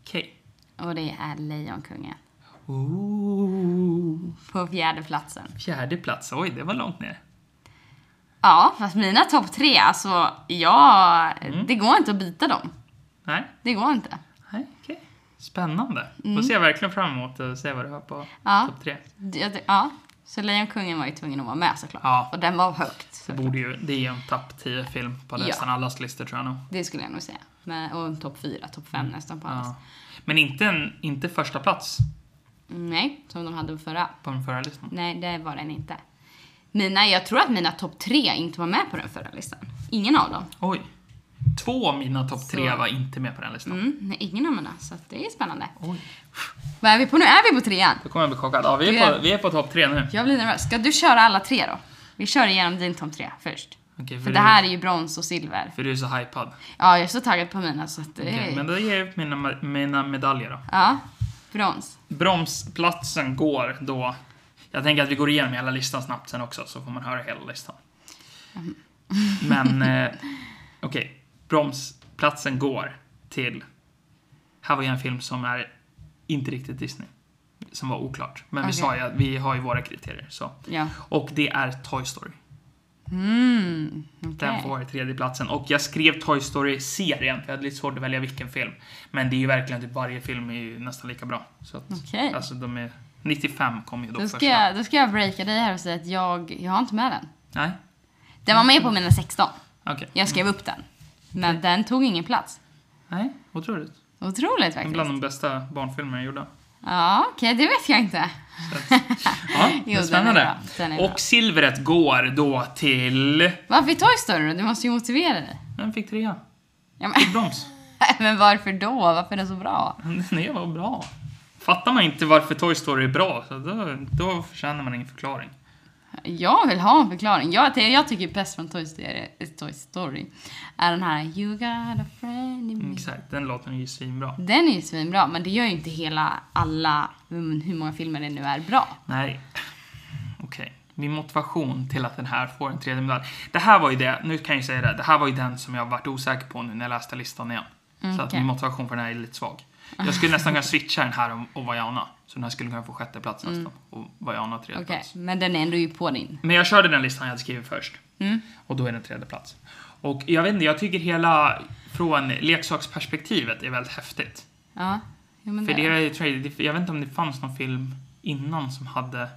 Speaker 2: Okej.
Speaker 1: och det är Lejonkungen
Speaker 2: Ooh.
Speaker 1: på fjärde platsen.
Speaker 2: Fjärde plats, oj det var långt ner.
Speaker 1: Ja, fast mina topp tre, alltså ja,
Speaker 2: Mm.
Speaker 1: det går inte att bita dem.
Speaker 2: Nej,
Speaker 1: Det går inte.
Speaker 2: nej okej. Spännande. Då ser jag verkligen fram emot att se vad du har på
Speaker 1: Mm. Ja.
Speaker 2: topp tre.
Speaker 1: Jag- Ja, så Lejonkungen var ju tvungen att vara med såklart.
Speaker 2: Ja.
Speaker 1: Och den var högt.
Speaker 2: Det, borde ju, det är ju en topp 10-film på
Speaker 1: Ja.
Speaker 2: nästan allas listor tror jag nog.
Speaker 1: Det skulle jag nog säga. Men, och en topp fyra, topp fem nästan på allas.
Speaker 2: Mm. Ja. Men inte, en, inte första plats
Speaker 1: Nej, som de hade på förra.
Speaker 2: på den förra listan.
Speaker 1: Nej, det var den inte. Mina, jag tror att mina topp tre inte var med på den förra listan. Ingen av dem.
Speaker 2: Oj. Två av mina topp tre
Speaker 1: Så.
Speaker 2: var inte med på den listan.
Speaker 1: Mm, nej, ingen av mina, så att det är spännande.
Speaker 2: Oj.
Speaker 1: Vad är vi på nu? Är vi på trean?
Speaker 2: Då kommer jag bli chockad. Ja, vi
Speaker 1: Du
Speaker 2: är
Speaker 1: är-
Speaker 2: på, vi är på topp tre nu.
Speaker 1: Jag blir nervös. Ska du köra alla tre då? Vi kör igenom din topp tre först.
Speaker 2: Okej,
Speaker 1: För
Speaker 2: för,
Speaker 1: det här är ju brons och silver.
Speaker 2: Du, för du är så hypad.
Speaker 1: Ja, jag är så taggad på mina så att det
Speaker 2: Okej, men
Speaker 1: är...
Speaker 2: då ger jag ut mina, mina medaljer då.
Speaker 1: Ja, brons.
Speaker 2: Bromsplatsen går då... Jag tänker att vi går igenom hela listan snabbt sen också, så får man höra hela listan. Men... Eh, Okej. Bromsplatsen går till... Här var ju en film som är inte riktigt Disney. Som var oklart. Men vi
Speaker 1: Okej.
Speaker 2: sa ju att vi har ju våra kriterier. Så.
Speaker 1: Ja.
Speaker 2: Och det är Toy Story.
Speaker 1: Mm, okej.
Speaker 2: Den får tredje platsen. Och jag skrev Toy Story-serien, för jag hade lite svårt att välja vilken film. Men det är ju verkligen typ varje film är ju nästan lika bra. Så att,
Speaker 1: Okej.
Speaker 2: Alltså de är... 95 kom ju då,
Speaker 1: Då
Speaker 2: första.
Speaker 1: ska, jag, då ska jag breaka dig här och säga att jag, jag har inte med den.
Speaker 2: Nej?
Speaker 1: Den var med på mina 16.
Speaker 2: Okej.
Speaker 1: Jag skrev upp den. Men den tog ingen plats.
Speaker 2: Nej, otroligt.
Speaker 1: Otroligt
Speaker 2: En
Speaker 1: faktiskt.
Speaker 2: bland de bästa barnfilmer jag gjorde.
Speaker 1: Ja, okej, det vet jag inte.
Speaker 2: Så att, ja, det
Speaker 1: den är
Speaker 2: är spännande.
Speaker 1: bra. Den är bra.
Speaker 2: Och silvret går då till...
Speaker 1: Varför är Toy Story då? Du måste ju motivera dig.
Speaker 2: Den fick trea.
Speaker 1: Ja, men,
Speaker 2: Broms.
Speaker 1: men varför då? Varför är den så bra?
Speaker 2: Det var bra. Fattar man inte varför Toy Story är bra, så då, då förtjänar man ingen förklaring.
Speaker 1: Jag vill ha en förklaring. Jag, det jag tycker bäst från Toy Story, Toy Story är den här You got a friend in me.
Speaker 2: Mm, Exakt, den låten är ju svinbra.
Speaker 1: Den är ju svinbra, men det gör ju inte hela, alla, mm, hur många filmer det nu är, bra.
Speaker 2: Nej. Okej. min motivation till att den här får en tredje medalj. Det här var ju det, nu kan jag ju säga det, det här var ju den som jag varit osäker på nu när jag läste listan igen. så att
Speaker 1: Mm, okej.
Speaker 2: min motivation för den här är lite svag. Jag skulle nästan kunna switcha den här och- och Vajana. Så den här skulle kunna få sjätte plats nästan. Och Vajana tredje
Speaker 1: Mm. Okej,
Speaker 2: plats.
Speaker 1: men den är ändå ju på din. Mm.
Speaker 2: Men jag körde den listan jag hade skrivit först. Och då är den tredje plats. Och jag vet inte, jag tycker hela från leksaksperspektivet är väldigt häftigt.
Speaker 1: Ja. Jo, men
Speaker 2: För
Speaker 1: det-
Speaker 2: det, är- tror jag, det- jag vet inte om det fanns någon film innan som hade,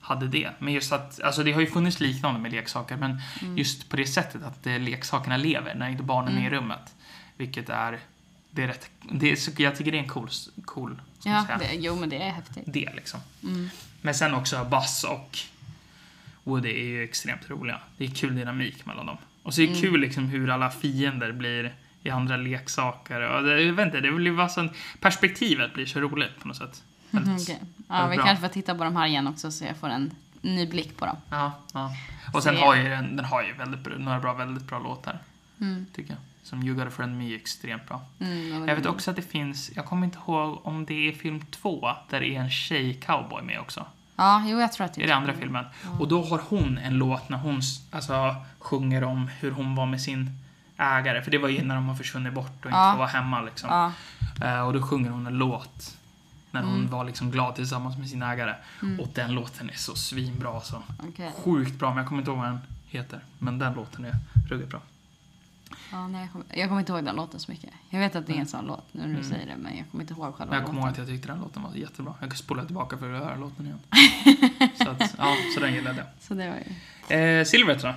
Speaker 2: hade det. Men just att, alltså det har ju funnits liknande med leksaker, men
Speaker 1: Mm.
Speaker 2: just på det sättet att eh, leksakerna lever när inte barnen är i rummet. Vilket är, det är rätt, det är, så- jag tycker det är en cool, s- cool ska man
Speaker 1: ja,
Speaker 2: säga,
Speaker 1: det, jo men det är häftigt.
Speaker 2: del liksom.
Speaker 1: Mm.
Speaker 2: Men sen också Buzz och Woody är ju extremt roliga. Det är kul dynamik mellan dem. Och så är det
Speaker 1: Mm.
Speaker 2: kul liksom hur alla fiender blir i andra leksaker. Och det, jag vet inte, det blir bara sånt, perspektivet blir så roligt på något sätt. Väldigt-
Speaker 1: Mm, Okej.
Speaker 2: det
Speaker 1: Ja,
Speaker 2: är
Speaker 1: vi
Speaker 2: Mm. bra.
Speaker 1: kanske får titta på de här igen också så jag får en ny blick på dem.
Speaker 2: Ja, ja. Och sen
Speaker 1: Se.
Speaker 2: har ju den, den har ju väldigt, bra- några bra, väldigt bra låtar.
Speaker 1: Mm.
Speaker 2: Tycker jag. Som You Gotta Friend Me är extremt bra.
Speaker 1: Mm, vad var
Speaker 2: Jag
Speaker 1: det
Speaker 2: vet
Speaker 1: nu?
Speaker 2: också att det finns, jag kommer inte ihåg om det är film två där det är en tjej-cowboy med också.
Speaker 1: Ja, jo jag tror att det
Speaker 2: I den andra filmen.
Speaker 1: Mm.
Speaker 2: Och då har hon en låt när hon s- alltså, sjunger om hur hon var med sin ägare. För det var ju när de har försvunnit bort och inte
Speaker 1: Ja.
Speaker 2: får vara hemma liksom.
Speaker 1: Ja, Mm.
Speaker 2: Eh, och då sjunger hon en låt. När hon var liksom glad tillsammans med sin ägare. Och den låten är så svinbra alltså.
Speaker 1: okej.
Speaker 2: Sjukt bra, men jag kommer inte ihåg vad den heter. Men den låten är ruggigt bra.
Speaker 1: Ja, nej, jag, kommer, jag kommer inte ihåg den låten så mycket. Jag vet att det är en sån låt nu när du säger det men jag kommer inte ihåg själva
Speaker 2: Men Mm. jag kommer ihåg
Speaker 1: låten.
Speaker 2: att jag tyckte den låten var jättebra. Jag kan spola tillbaka för att höra låten igen. så, att, ja, så den gillade jag.
Speaker 1: Så det var ju...
Speaker 2: Eh, Silvret då?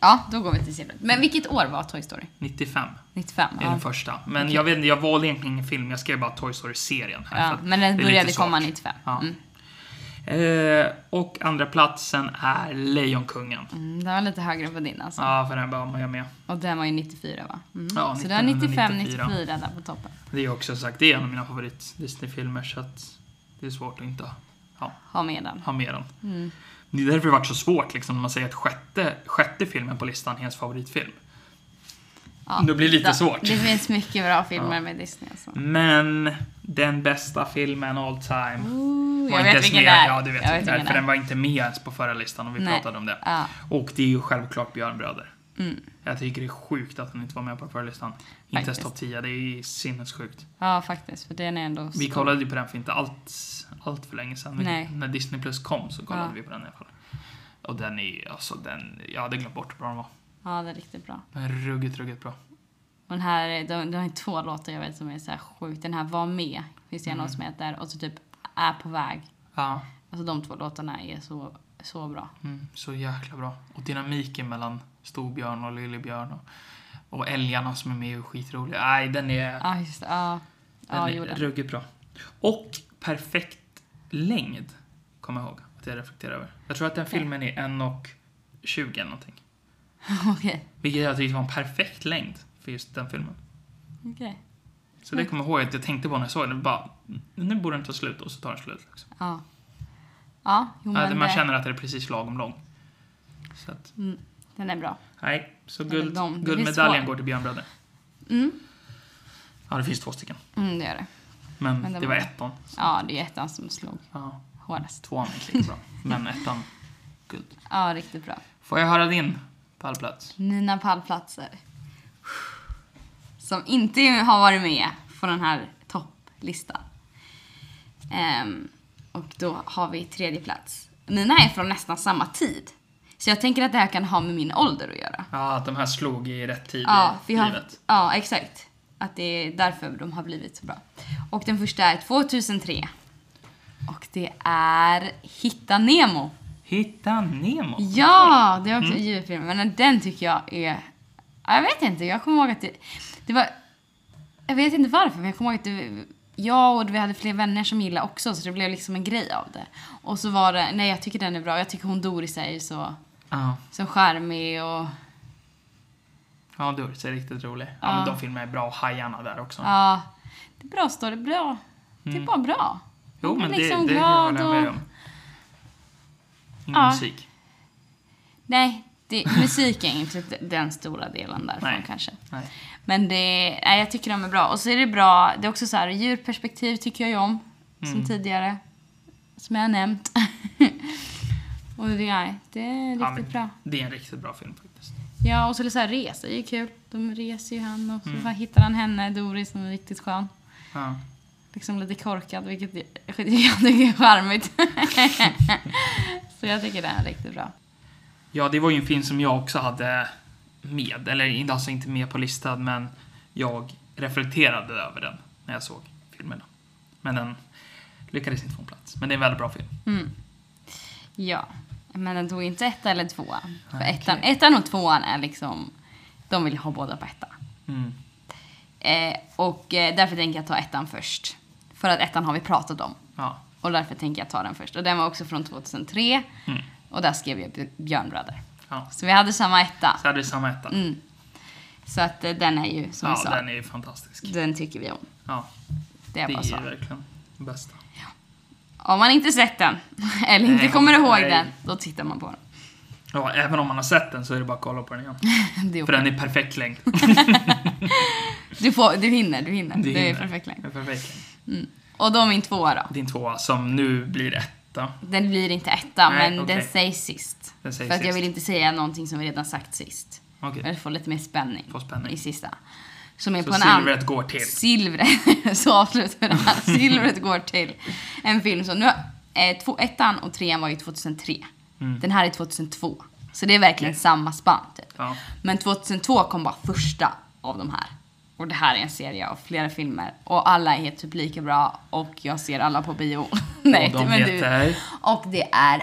Speaker 1: Ja, då går vi till silvret. Men vilket år var Toy Story?
Speaker 2: 95.
Speaker 1: 95?
Speaker 2: är
Speaker 1: Ja.
Speaker 2: den första. Men jag vet inte, jag valde egentligen ingen film, jag skrev bara Toy Story-serien. här, för
Speaker 1: Ja,
Speaker 2: att
Speaker 1: men
Speaker 2: det är
Speaker 1: den
Speaker 2: lite
Speaker 1: började
Speaker 2: svagt.
Speaker 1: komma 95.
Speaker 2: Ja.
Speaker 1: Mm.
Speaker 2: Eh, och andra platsen är Lejonkungen.
Speaker 1: Mm, den var lite högre på din alltså.
Speaker 2: Ja, för den behöver jag med.
Speaker 1: Och den var ju 94 va? Mm.
Speaker 2: Ja,
Speaker 1: så det var 95,
Speaker 2: 1994.
Speaker 1: 94 där på toppen.
Speaker 2: Det är också sagt, det är en av mina favorit-Disney-filmer så att det är svårt att inte ja,
Speaker 1: Ha med den.
Speaker 2: ha med den.
Speaker 1: Mm.
Speaker 2: Det är därför det har varit så svårt liksom, när man säger att sjätte, sjätte filmen på listan är ens favoritfilm.
Speaker 1: Ja,
Speaker 2: Det blir lite
Speaker 1: där.
Speaker 2: svårt.
Speaker 1: Det finns mycket bra filmer med Disney alltså.
Speaker 2: Men den bästa filmen all time
Speaker 1: Ooh, Mm.
Speaker 2: Mm. var
Speaker 1: jag vet
Speaker 2: inte ens
Speaker 1: vilken
Speaker 2: med.
Speaker 1: det är.
Speaker 2: Ja, du vet,
Speaker 1: jag
Speaker 2: vilken det är,
Speaker 1: vilken
Speaker 2: för
Speaker 1: det
Speaker 2: den
Speaker 1: är.
Speaker 2: var inte med ens på förra listan och vi
Speaker 1: Nej.
Speaker 2: pratade om det.
Speaker 1: Ja.
Speaker 2: Och det är ju självklart Björn Bröder.
Speaker 1: Mm.
Speaker 2: Jag tycker det är sjukt att han inte var med på förlistan. Inte ens
Speaker 1: Faktiskt.
Speaker 2: topp 10, det är sinnessjukt.
Speaker 1: ja, faktiskt. För den är ändå
Speaker 2: Vi
Speaker 1: stor.
Speaker 2: kollade ju på den för inte allt, allt för länge sedan.
Speaker 1: Nej.
Speaker 2: När Disney Plus kom så kollade
Speaker 1: Ja.
Speaker 2: vi på den i alla fall. Och den är ju, alltså den, jag hade glömt bort hur bra den var.
Speaker 1: Ja, det är riktigt bra.
Speaker 2: Den är ruggigt, ruggigt bra.
Speaker 1: Och den här, de, de har ju två låtar jag vet som är så här sjukt. Den här Var med, finns det en låt som
Speaker 2: Mm.
Speaker 1: heter. Och så typ Är på väg.
Speaker 2: Ja,
Speaker 1: Alltså de två låtarna är så, så bra.
Speaker 2: mm, så jäkla bra. Och dynamiken mellan Storbjörn och Lillebjörn och, och älgarna som är med är skitroliga. Nej, den är...
Speaker 1: Ja, just det. Ja,
Speaker 2: Den
Speaker 1: ja
Speaker 2: är
Speaker 1: jo, den.
Speaker 2: ruggigt bra. Och perfekt längd, kommer jag ihåg att jag reflekterar över. Jag tror att den filmen är en och 20 eller någonting.
Speaker 1: Okej.
Speaker 2: Vilket jag tyckte var en perfekt längd för just den filmen.
Speaker 1: Okej.
Speaker 2: Så
Speaker 1: Mm.
Speaker 2: det kommer jag ihåg att jag tänkte på när jag såg den. Bara, "Mm, nu borde den ta slut och så tar den slut. Liksom.
Speaker 1: Ja. Ja, jo
Speaker 2: Att
Speaker 1: Mm, men eh,
Speaker 2: man
Speaker 1: det-
Speaker 2: känner att den är precis lagom lång. Så att,
Speaker 1: den är bra.
Speaker 2: nej, så
Speaker 1: Eller
Speaker 2: guld,
Speaker 1: de. Det finns
Speaker 2: guldmedaljen
Speaker 1: två.
Speaker 2: går till Björnbröder.
Speaker 1: Mm.
Speaker 2: Ja, det finns två stycken.
Speaker 1: Mm, det gör det.
Speaker 2: Men,
Speaker 1: Men det
Speaker 2: det var
Speaker 1: var-
Speaker 2: ettan.
Speaker 1: Ja, det är ettan som slog
Speaker 2: Ja,
Speaker 1: hårdast.
Speaker 2: tvåan gick lite bra. Men ettan, guld.
Speaker 1: Ja, riktigt bra.
Speaker 2: Får jag höra din pallplats?
Speaker 1: Mina pallplatser. Som inte har varit med på den här topplistan. Ehm, och då har vi tredje plats. Mina är från nästan samma tid. Så jag tänker att det här kan ha med min ålder att göra.
Speaker 2: Ja, att de här slog i rätt tid
Speaker 1: Ja,
Speaker 2: i
Speaker 1: vi har,
Speaker 2: livet.
Speaker 1: ja exakt. Att det är därför de har blivit så bra. Och den första är 2003. Och det är Hitta Nemo.
Speaker 2: Hitta Nemo.
Speaker 1: Ja, det var
Speaker 2: Mm.
Speaker 1: också en julfilm. Men den tycker jag är... ja, Jag vet inte, jag kommer ihåg att det, det var... Jag vet inte varför, men jag kommer ihåg att det, jag och vi hade fler vänner som gillade också, så det blev liksom en grej av det. Och så var det, nej jag tycker den är bra, jag tycker hon Doris är ju så,
Speaker 2: Ja,
Speaker 1: så charmig och...
Speaker 2: ja du ser riktigt rolig. Ja, men de filmerna är bra och hajarna där också.
Speaker 1: Ja, det är bra story, bra. Det är bara bra.
Speaker 2: Mm. jo,
Speaker 1: hon är
Speaker 2: men
Speaker 1: liksom
Speaker 2: det, det
Speaker 1: glad
Speaker 2: håller jag med
Speaker 1: och-
Speaker 2: om. Ingen
Speaker 1: Ja.
Speaker 2: musik.
Speaker 1: Nej, det, musiken är inte typ den stora delen därifrån
Speaker 2: Nej.
Speaker 1: kanske.
Speaker 2: Nej.
Speaker 1: Men det, nej, jag tycker de är bra. Och så är det bra, det är också så här,
Speaker 2: Mm.
Speaker 1: djurperspektiv tycker jag ju om. Som tidigare. Som jag har nämnt. Och det, nej, det är riktigt
Speaker 2: Ja, men
Speaker 1: bra.
Speaker 2: Det är en riktigt bra film faktiskt.
Speaker 1: Ja, och så, så här, resa är ju kul. De reser ju han och så
Speaker 2: Mm.
Speaker 1: bara hittar han henne, Doris, som är riktigt skön.
Speaker 2: Ja.
Speaker 1: Liksom lite korkad, vilket jag jag tycker är charmigt. så jag tycker den är riktigt bra.
Speaker 2: ja, det var ju en film som jag också hade med. Eller inte- alltså inte med på listan, men jag reflekterade över den när jag såg filmerna. Men den lyckades inte få en plats. Men det är en väldigt bra film.
Speaker 1: Mm. Ja, men den tog inte etta eller tvåa. För
Speaker 2: Okej.
Speaker 1: ettan, ettan och tvåan är liksom, de vill ha båda på etta.
Speaker 2: Mm.
Speaker 1: Eh, och eh, därför tänker jag ta ettan först. För att ettan har vi pratat om.
Speaker 2: Ja.
Speaker 1: Och därför tänker jag ta den först. Och den var också från 2003.
Speaker 2: Mm.
Speaker 1: Och där skrev jag Bj- Björn Brother.
Speaker 2: ja.
Speaker 1: Så vi hade samma etta.
Speaker 2: Så hade vi samma etta.
Speaker 1: Mm. Så att eh, den är ju, som vi
Speaker 2: ja,
Speaker 1: sa,
Speaker 2: den
Speaker 1: den,
Speaker 2: är ju fantastisk.
Speaker 1: tycker vi om.
Speaker 2: Ja,
Speaker 1: Det
Speaker 2: det
Speaker 1: är
Speaker 2: är
Speaker 1: bara så.
Speaker 2: ju verkligen den bästa.
Speaker 1: Om man inte sett den, eller inte
Speaker 2: Nej,
Speaker 1: kommer ihåg
Speaker 2: nej.
Speaker 1: den, då tittar man på den.
Speaker 2: Ja, även om man har sett den så är det bara att kolla på den igen.
Speaker 1: Det är
Speaker 2: För den är perfekt längd.
Speaker 1: Du, får, du hinner, du hinner.
Speaker 2: Du
Speaker 1: Du, är
Speaker 2: hinner.
Speaker 1: perfekt längd.
Speaker 2: Den är perfekt längd.
Speaker 1: Och då min tvåa då.
Speaker 2: Din tvåa som nu blir etta.
Speaker 1: Den blir inte etta,
Speaker 2: Nej,
Speaker 1: men
Speaker 2: okej.
Speaker 1: den sägs sist.
Speaker 2: Den sägs
Speaker 1: För att jag
Speaker 2: sist.
Speaker 1: vill inte säga någonting som vi redan sagt sist.
Speaker 2: Okej.
Speaker 1: Jag vill få lite mer spänning,
Speaker 2: Få spänning.
Speaker 1: i sista. Som är
Speaker 2: Så
Speaker 1: på en annan...
Speaker 2: silvret går till.
Speaker 1: Silvret. så avslutar vi det här. Silvret går till en film som nu... Eh, två, ettan och trean var ju 2003.
Speaker 2: Mm.
Speaker 1: Den här är 2002. Så det är verkligen samma spann typ.
Speaker 2: Ja.
Speaker 1: Men 2002 kom bara första av de här. Och det här är en serie av flera filmer. Och alla är typ lika bra och jag ser alla på bio. Nej,
Speaker 2: de
Speaker 1: men du.
Speaker 2: heter?
Speaker 1: Och det är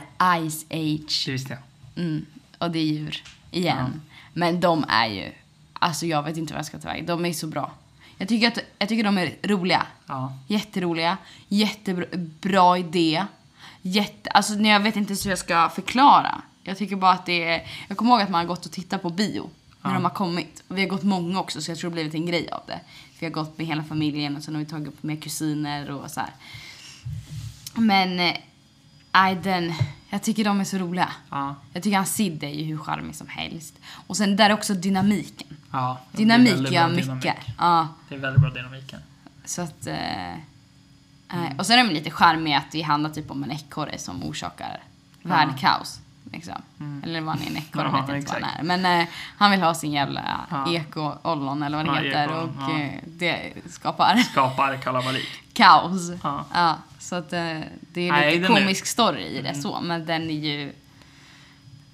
Speaker 1: Ice Age.
Speaker 2: Det visste jag.
Speaker 1: Mm. Och det är djur. Igen. Men de är ju... Alltså jag vet inte vad jag ska ta vägen. De är så bra. Jag tycker, att, jag tycker de är roliga.
Speaker 2: Ja.
Speaker 1: Jätteroliga. Jättebra bra idé. Jätte, alltså nej, jag vet inte ens hur jag ska förklara. Jag tycker bara att det är... Jag kommer ihåg att man har gått och tittat på bio. När de har kommit. Och vi har gått många också så jag tror det har blivit en grej av det. Vi har gått med hela familjen och sen har vi tagit upp med kusiner och så här. Men... eh, Nej, den... Jag tycker de är så roliga.
Speaker 2: Ja.
Speaker 1: Jag tycker han Sid är ju hur charmig som helst. Och sen där är också dynamiken.
Speaker 2: ja. Det är
Speaker 1: Dynamik
Speaker 2: väldigt
Speaker 1: gör
Speaker 2: bra
Speaker 1: mycket.
Speaker 2: dynamik.
Speaker 1: Ja,
Speaker 2: Det är väldigt bra dynamiken.
Speaker 1: så att... Eh, nej. Och sen är de lite charmiga att det handlar typ om en ekorre som orsakar världkaos. Liksom. Eller var han är en ekorre,
Speaker 2: Mm. Ja,
Speaker 1: vet jag inte vad
Speaker 2: exakt.
Speaker 1: han är. Men eh, han vill ha sin jävla
Speaker 2: Ja.
Speaker 1: eko-ollon eller vad det
Speaker 2: Ja,
Speaker 1: heter.
Speaker 2: ekollon,
Speaker 1: och
Speaker 2: ja.
Speaker 1: eh, det skapar
Speaker 2: Skapar kalabalik.
Speaker 1: kaos.
Speaker 2: Ja.
Speaker 1: Ja, så att eh, det är
Speaker 2: Nej,
Speaker 1: lite
Speaker 2: den är- Mm.
Speaker 1: komisk story i det så, men den är ju...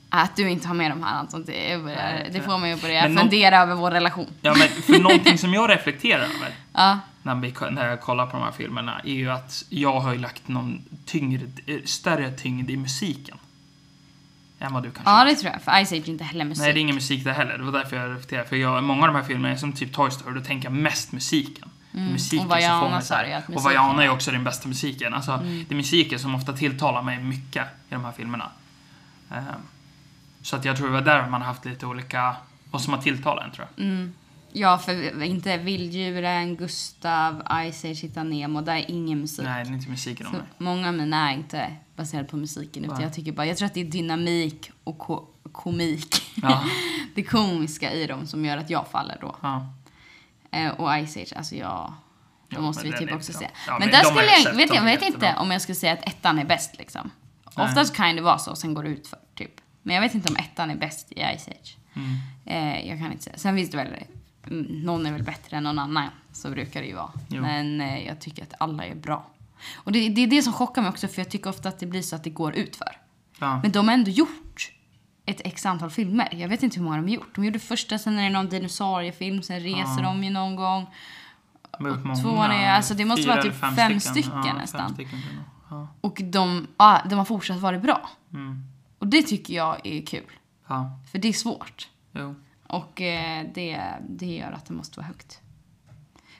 Speaker 1: Att du inte har med de här Anton, det, är
Speaker 2: Nej,
Speaker 1: börjar,
Speaker 2: jag
Speaker 1: det
Speaker 2: tror
Speaker 1: får mig att börja
Speaker 2: Men någon-
Speaker 1: fundera över vår relation.
Speaker 2: Ja, men för någonting som jag reflekterar över
Speaker 1: Ja,
Speaker 2: när, vi, när jag kollar på de här filmerna är ju att jag har ju lagt någon tyngd, eh, större tyngd i musiken. Än vad du kanske
Speaker 1: ja det tror jag, för Ice Age är inte heller musik.
Speaker 2: Nej, det är ingen musik där heller. Det var därför jag reflekterade. För jag, många av de här filmerna, som typ Toy Story, då tänker jag mest musiken. Mm. Musiken
Speaker 1: Och vad
Speaker 2: som får
Speaker 1: Jana
Speaker 2: mig så här-
Speaker 1: sa ju att
Speaker 2: Och
Speaker 1: musiken- Mm.
Speaker 2: Vajana är också den bästa musiken. Alltså, Det är musiken som ofta tilltalar mig mycket i de här filmerna. Ehm, så att jag tror det var där man har haft lite olika, vad som har tilltalat en tror jag.
Speaker 1: Mm. Ja, för inte Vilddjuren, Gustav, Ice Age, Hitta Nemo, där är ingen musik.
Speaker 2: Nej, det är inte musiken om
Speaker 1: Så
Speaker 2: mig.
Speaker 1: många av mina är inte baserade på musiken, utan
Speaker 2: Nej.
Speaker 1: jag tycker bara, jag tror att det är dynamik och ko- komik.
Speaker 2: Ja.
Speaker 1: det komiska i dem som gör att jag faller då.
Speaker 2: Ja.
Speaker 1: Eh, och Ice Age, alltså jag... Då
Speaker 2: Ja,
Speaker 1: måste vi
Speaker 2: men den
Speaker 1: typ
Speaker 2: är
Speaker 1: också
Speaker 2: bra.
Speaker 1: se. men
Speaker 2: Ja, men
Speaker 1: där
Speaker 2: de har
Speaker 1: skulle
Speaker 2: jag
Speaker 1: jag,
Speaker 2: sett,
Speaker 1: vet
Speaker 2: de
Speaker 1: jag
Speaker 2: är
Speaker 1: vet inte
Speaker 2: jättebra.
Speaker 1: om jag skulle säga att ettan är bäst liksom.
Speaker 2: Nej.
Speaker 1: Oftast kan det vara så, sen går det ut för typ. Men jag vet inte om ettan är bäst i Ice Age.
Speaker 2: Mm.
Speaker 1: Eh, jag kan inte säga. Sen finns det väl, mm, någon är väl bättre än någon annan. Så brukar det ju vara.
Speaker 2: Jo.
Speaker 1: Men eh, jag tycker att alla är bra. Och det, det är det som chockar mig också för jag tycker ofta att det blir så att det går ut för.
Speaker 2: Ja.
Speaker 1: Men de har ändå gjort ett x antal filmer. Jag vet inte hur många de har gjort. De gjorde första, sen är det någon dinosauriefilm, sen reser de ju någon gång.
Speaker 2: De har gjort
Speaker 1: Och tvåan är- alltså, det måste
Speaker 2: fyra
Speaker 1: vara typ
Speaker 2: eller
Speaker 1: fem stycken nästan.
Speaker 2: Fem stycken, tror jag. ja.
Speaker 1: Och de, ja, de har fortsatt vara bra.
Speaker 2: Mm.
Speaker 1: Och det tycker jag är kul.
Speaker 2: ja.
Speaker 1: För det är svårt.
Speaker 2: Jo.
Speaker 1: Och eh, det, det gör att det måste vara högt.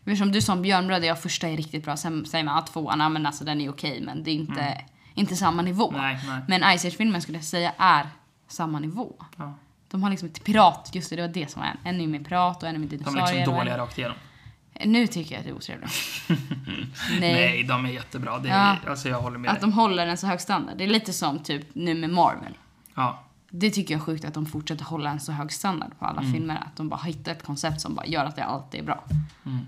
Speaker 1: Men som du sa om Björnbröder, ja första är riktigt bra. Sen säger man att tvåan, ja, men alltså den är okej men det är inte, inte samma nivå.
Speaker 2: Mm. Nej, nej.
Speaker 1: Men Ice Age-filmen skulle jag säga är samma nivå.
Speaker 2: Ja.
Speaker 1: De har liksom ett pirat, just det, det var det som var en. En är med pirat och en är med
Speaker 2: De
Speaker 1: dinosaurier.
Speaker 2: är liksom
Speaker 1: och en-
Speaker 2: dåliga rakt igenom.
Speaker 1: Nu tycker jag att det är otrevligt.
Speaker 2: Nej.
Speaker 1: Nej.
Speaker 2: de är jättebra. Det är,
Speaker 1: Ja.
Speaker 2: Alltså jag håller med
Speaker 1: Att
Speaker 2: dig.
Speaker 1: de håller en så hög standard. Det är lite som typ nu med Marvel.
Speaker 2: Ja.
Speaker 1: Det tycker jag är sjukt att de fortsätter hålla en så hög standard på alla
Speaker 2: Mm.
Speaker 1: filmer. Att de bara hittar ett koncept som bara gör att det alltid är bra.
Speaker 2: Mm.